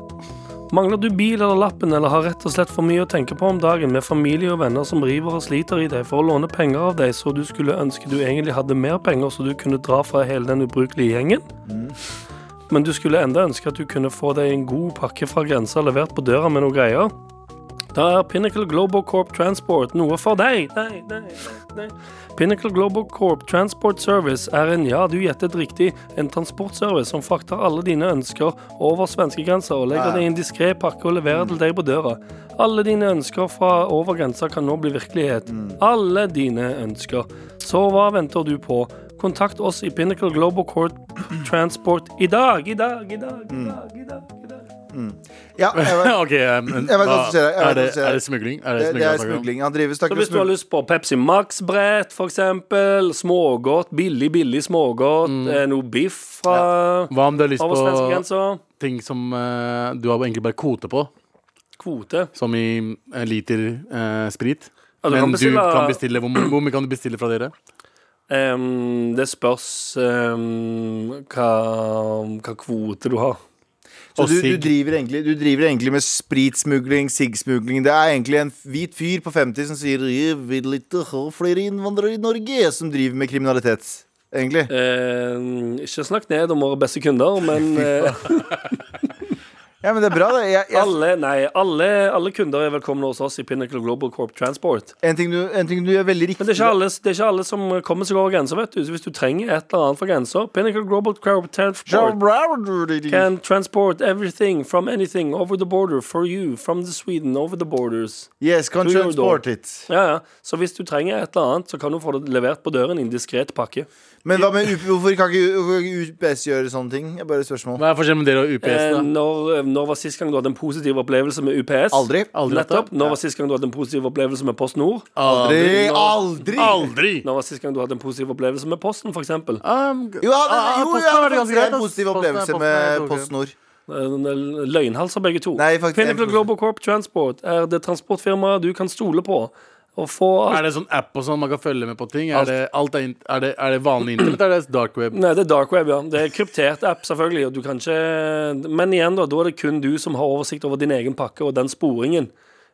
Mangler du bil eller lappen, eller har rett og slett for mye å tenke på om dagen, med familie og venner som river og sliter i deg for å låne penger av deg, så du skulle ønske du egentlig hadde mer penger, så du kunne dra fra hele den ubrukelige gjengen? Men du skulle enda ønske at du kunne få deg en god pakke fra grensa levert på døra med noen greier? Da er Pinnacle Global Corp Transport noe for deg! Nei, nei, nei, nei. Pinnacle Global Corp Transport Service er en, ja, du gjettet riktig, en transportservice som frakter alle dine ønsker over svenskegrensa og legger det i en diskré pakke og leverer til deg på døra. Alle dine ønsker fra over grensa kan nå bli virkelighet. Alle dine ønsker. Så hva venter du på? Kontakt oss i Pinnacle Global Corp Transport i dag, i dag, i dag, i dag, i dag. I dag.
Ja, jeg vet,
OK, eh, men
Jeg vet
hva-
hva som skjer, jeg vet hva
er, det,
som skjer.
er det smugling? Er det
det, det er
smugling?
smugling. Han driver
Så
stakkars
hvis du har
smugling.
lyst på Pepsi Max-brett, for eksempel, smågodt, billig, billig smågodt, eh, noe biff fra
Hva om du har lyst
over
på
svenskegrensa,
ting som eh, du har egentlig bare kvote på?
kvote
Som i en liter eh, sprit?
Ja, du
Men
kan bestille-
du kan bestille hvor, mye- hvor mye kan du bestille fra dere?
Em, Det spørs em, hva, hva kvote du har.
Så
Og
du, du,
sigg.
driver egentlig, du driver egentlig med spritsmugling, siggsmugling. Det er egentlig en hvit fyr på 50 som sier Jeg vil ikke ha flere innvandrere i Norge som driver med kriminalitet. Egentlig.
Em, ikke snakk ned om våre beste kunder, men eh,
Ja, men det er bra, det. Jeg, jeg,
alle, nei, alle, alle kunder er velkomne hos oss i Pinnacle Global Corp Transport.
en, ting du, en ting du gjør veldig
Men det er
riktig
ikke alle, det er ikke alle som kommer seg over grensa, vet du. Så hvis du trenger et eller annet fra grensa, Pinnacle Global Corp Transport can transport everything from anything over the border for you from the Sweden over the borders.
Yes, can
To your
transport it.
Ja, ja. Så hvis du trenger et eller annet, så kan du få det levert på døren i en diskret pakke.
Men hva med UP, hvorfor kan ikke hvorfor kan ikke UPS gjøre sånne ting? Det er bare et spørsmål.
Hva er forskjellen med dere og UPS?
Eh,
da?
når, når var sist gang du hadde en positiv opplevelse med UPS?
Aldri.
Aldri hatt
Nettopp.
det?
Når var sist gang du hadde en positiv opplevelse med Post Nord?
Aldri! Aldri!
Aldri! Aldri.
Når var sist gang du hadde en positiv opplevelse med Posten, for eksempel?
Um,
Jo, jeg hadde,
ah,
jo, jeg
Posten var det
hadde
ganske
faktisk
greit,
en
ass.
positiv
Posten er-
opplevelse
Posten er
med
ok.
Post
Eh,
Nord.
Løgnhalser begge to.
Nei, faktisk-
Pinnacle Global Corp Transport er det transportfirmaet du kan stole på. Og få alt.
Er det sånn app og sånn man kan følge med på ting? Er det, alt er, int- er det, er det vanlig internett, eller er det dark web?
Nei, det er dark web, ja. Det er kryptert app, selvfølgelig. Og du kan ikke Men igjen, da. Da er det kun du som har oversikt over din Ehm, egen pakke og den sporingen.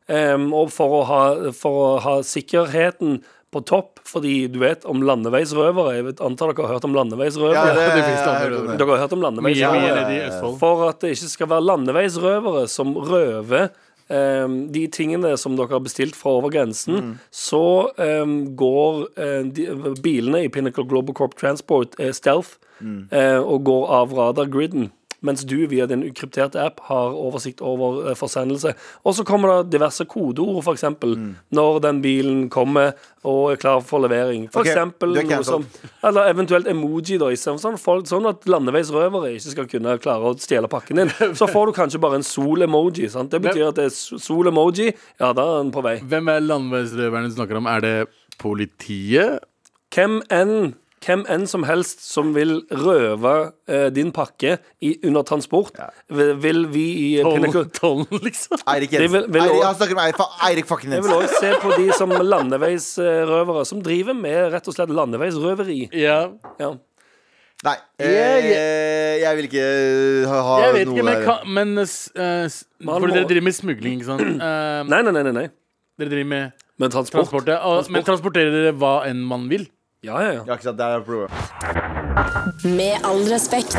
Em, og for å, ha, for å ha sikkerheten på topp, fordi du vet om landeveisrøvere. Jeg vet, antar dere har hørt om
Ja,
landeveisrøvere.
det,
de finnes det andre.
jeg-
Dere har hørt om
Mye,
landeveisrøvere.
mye nede i Østfold.
For at det ikke skal være landeveisrøvere som røver eh, de tingene som dere har bestilt fra over grensen, så eh, går eh, de, bilene i Pinnacle Global Corp Transport eh, stealth eh, og går av radargriden. Mens du via din ukrypterte app har oversikt over eh, forsendelse. Og så kommer det diverse kodeord, f.eks. eksempel Når den bilen kommer og er klar for levering. For
Ok,
eksempel
det er
noe som
cancelled.
eller eventuelt emoji, da. i stedet for Sånn, folk, sånn at landeveisrøvere ikke skal kunne klare å stjele pakken din. Så får du kanskje bare en sol-emoji. sant? Det betyr at det er s- sol-emoji. Ja, da er den på vei.
Hvem er landeveisrøverne du snakker om? Er det politiet?
Hvem enn hvem enn som helst som vil røve eh, din pakke i, under transport, vil, vil vi i Pinnacle
Tollen, tollen liksom?
Eirik Jensen.
Det vil- vil
Eirik,
også-
han snakker om Eirik, fa- Eirik fucking
Jeg vil
Jensen.
òg se på de som landeveisrøvere, som driver med rett og slett landeveisrøveri.
Ja.
Ja.
Nei.
Jeg-
eh, Jeg vil ikke eh, ha ha
Jeg vet
noe
ikke, men,
der.
kan, men eh, s- eh, s-
Man
Fordi
må-
dere driver med smugling, ikke sant? Eh,
Nei, nei, nei. nei, nei.
dere driver med
Men transport.
transport. ja. Og, Men transporterer dere hva enn man vil?
Ja, ja, ja.
Ja, ikke sant, der er problemet.
Med all respekt.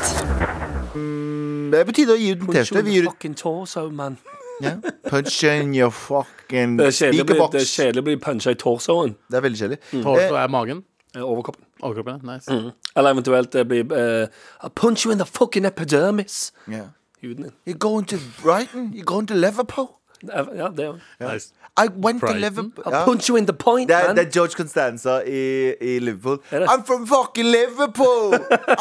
Mm, Det er på tide å gi ut en T-skjorte. Vi gir ut
Fucking torso, man.
ja. Punch in your fucking
Det er kjedelig å bli- det er
speakerbox.
kjedelig Mm. å bli puncha i torsoen.
Det er veldig kjedelig.
Torso er magen?
eh, Overkroppen.
Overkroppen? ja. Nice.
Eller eventuelt det blir eh, I'll punch you in the fucking epidermis.
Eh, yeah.
Huden din.
You're going to Brighton? You're going to Liverpool?
Det er- Ja, det òg.
nice.
I went
Brighton?
to Liverpool.
I'll
Ja.
punch you in the point,
Det er,
man.
det er George Constanza i, i Liverpool.
det?
I'm from fucking Liverpool!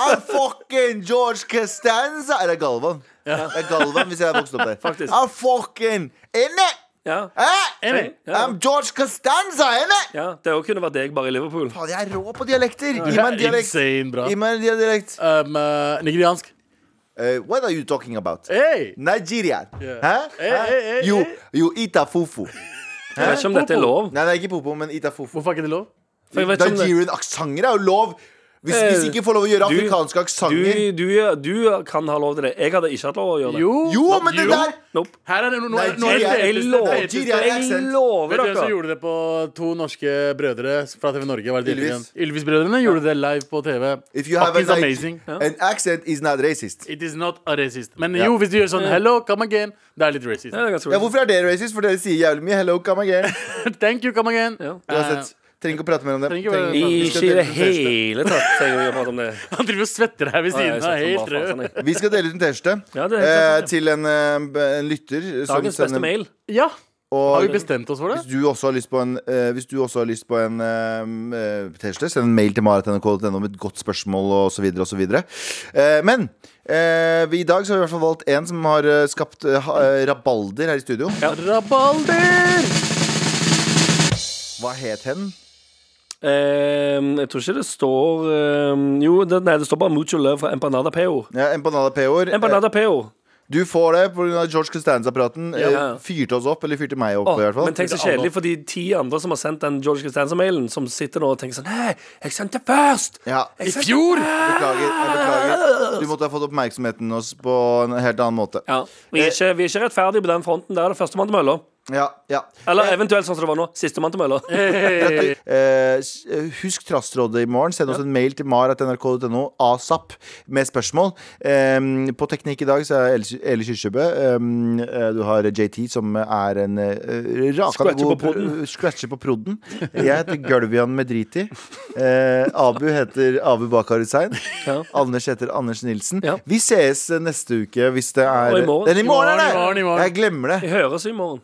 I'm fucking George Constanza! Eller Galvan. Det er Galvan hvis jeg har vokst opp der.
Faktisk.
I'm fucking in it!
Ja.
Eh?
Enig.
Ja.
I'm George Constanza, in it!
ja, det òg kunne vært deg, bare i Liverpool.
Faen, jeg er rå på dialekter! Gi
Det
meg en
er
dialekt.
insane bra.
Gi meg en dialekt.
Um, eh, nigeriansk.
Eh, what are you talking about?
Hey!
Nigeria. Hæ?
Eh,
Hæ?
eh, eh,
You,
eh.
you ita fufu.
Jeg vet ikke om dette er lov.
Nei, det er ikke popo, men ita fufu.
Hvorfor er ikke det lov?
For jeg vet ikke om det
Nigerian-aksanger er jo lov. Hvis, hvis ikke får lov å gjøre
Du-
afrikanske aksanger
du, du, du kan ha lov til det. Jeg hadde ikke hatt lov å gjøre det.
Jo.
Jo, men det der
Nope.
Her er det noe, noe,
Nei,
noe
Jeg,
Nigeria-
jeg, lover,
det
Nigeria er
jeg
accent.
lover
Vet du hvem som
dere.
gjorde det på to norske brødre fra TV Norge? Var det de
Ylvis.
heter igjen? Ylvis-brødrene gjorde det live på TV.
If you have a
Fuck is
Nig-
amazing.
An accent is not racist.
It is not a racist. Men
Ja.
jo, hvis du gjør sånn hello, come again, det er litt racist.
Ja, det er ganske
Ja,
rart.
hvorfor er det racist? For dere sier jævlig mye 'hello, come again'.
Thank you, come again.
Ja.
Uansett. Trenger ikke å prate mer om det.
Trenger ikke
Trenger-
å-
vi
Ikke
skal
i det
dele ut en T-skjorte.
hele tatt trenger vi å prate om det.
Eh, Han driver og svetter her ved
Nei, jeg
siden av,
snakker om
helt
hva faen
rød.
som er.
Vi skal dele ut en T-skjorte
Ja, det er helt
eh,
sant, ja.
til en, eh, en lytter. som
Dagens beste
sender-
mail.
Ja, har vi
Og
bestemt oss for
hvis
det?
du også har lyst på en, eh, hvis du også har lyst på en eh, eh, T-skjorte, send en mail til maratnrk.no med et godt spørsmål osv. osv. Uh, men eh, vi, i dag så har vi i hvert fall valgt en som har eh, skapt eh, ha- eh, rabalder her i studio.
Rabalder!
Hva het hen?
Ehm, jeg tror ikke det står ehm, Jo, det, nei, det står bare Mucho Love fra Empanada Peo.
Ja, Empanada P-ord.
Empanada Peo.
Du får det pga. George Costanza-praten.
Ja.
Eh, Fyrte oss opp, eller fyrte meg opp.
Åh,
i hvert fall
men tenk så
Fyrte alle
kjedelig for de ti andre som har sendt den George Costanza-mailen, som sitter nå og tenker sånn Hei, jeg sendte først!
ja.
I fjor!
Beklager. jeg beklager Du måtte ha fått oppmerksomheten oss på en helt annen måte.
Ja, vi, er ikke, vi er ikke rettferdige på den fronten. Der er det førstemann til mølla.
Ja, ja.
Eller eventuelt sånn som det var nå, sistemann til mølla.
Eh, s- eh, husk Trassrådet i morgen. Send oss en mail til mar.nrk.no asap med spørsmål. Em, på Teknikk i dag så er Eli- Eli Kyrkjebø. Em, eh, du har JT, som er en uh, rakende
Scratcher
god
på podden.
pr- Scratcher på prodden. Jeg heter Gulvian med drit i. Eh, Abu heter Abu Bakar Hussein.
Ja.
Anders heter Anders Nilsen.
Ja.
Vi ses eh, neste uke hvis det er
Og i morgen.
Den i morgen, er det!
I morgen, i morgen.
Jeg glemmer det.
Vi høres i morgen.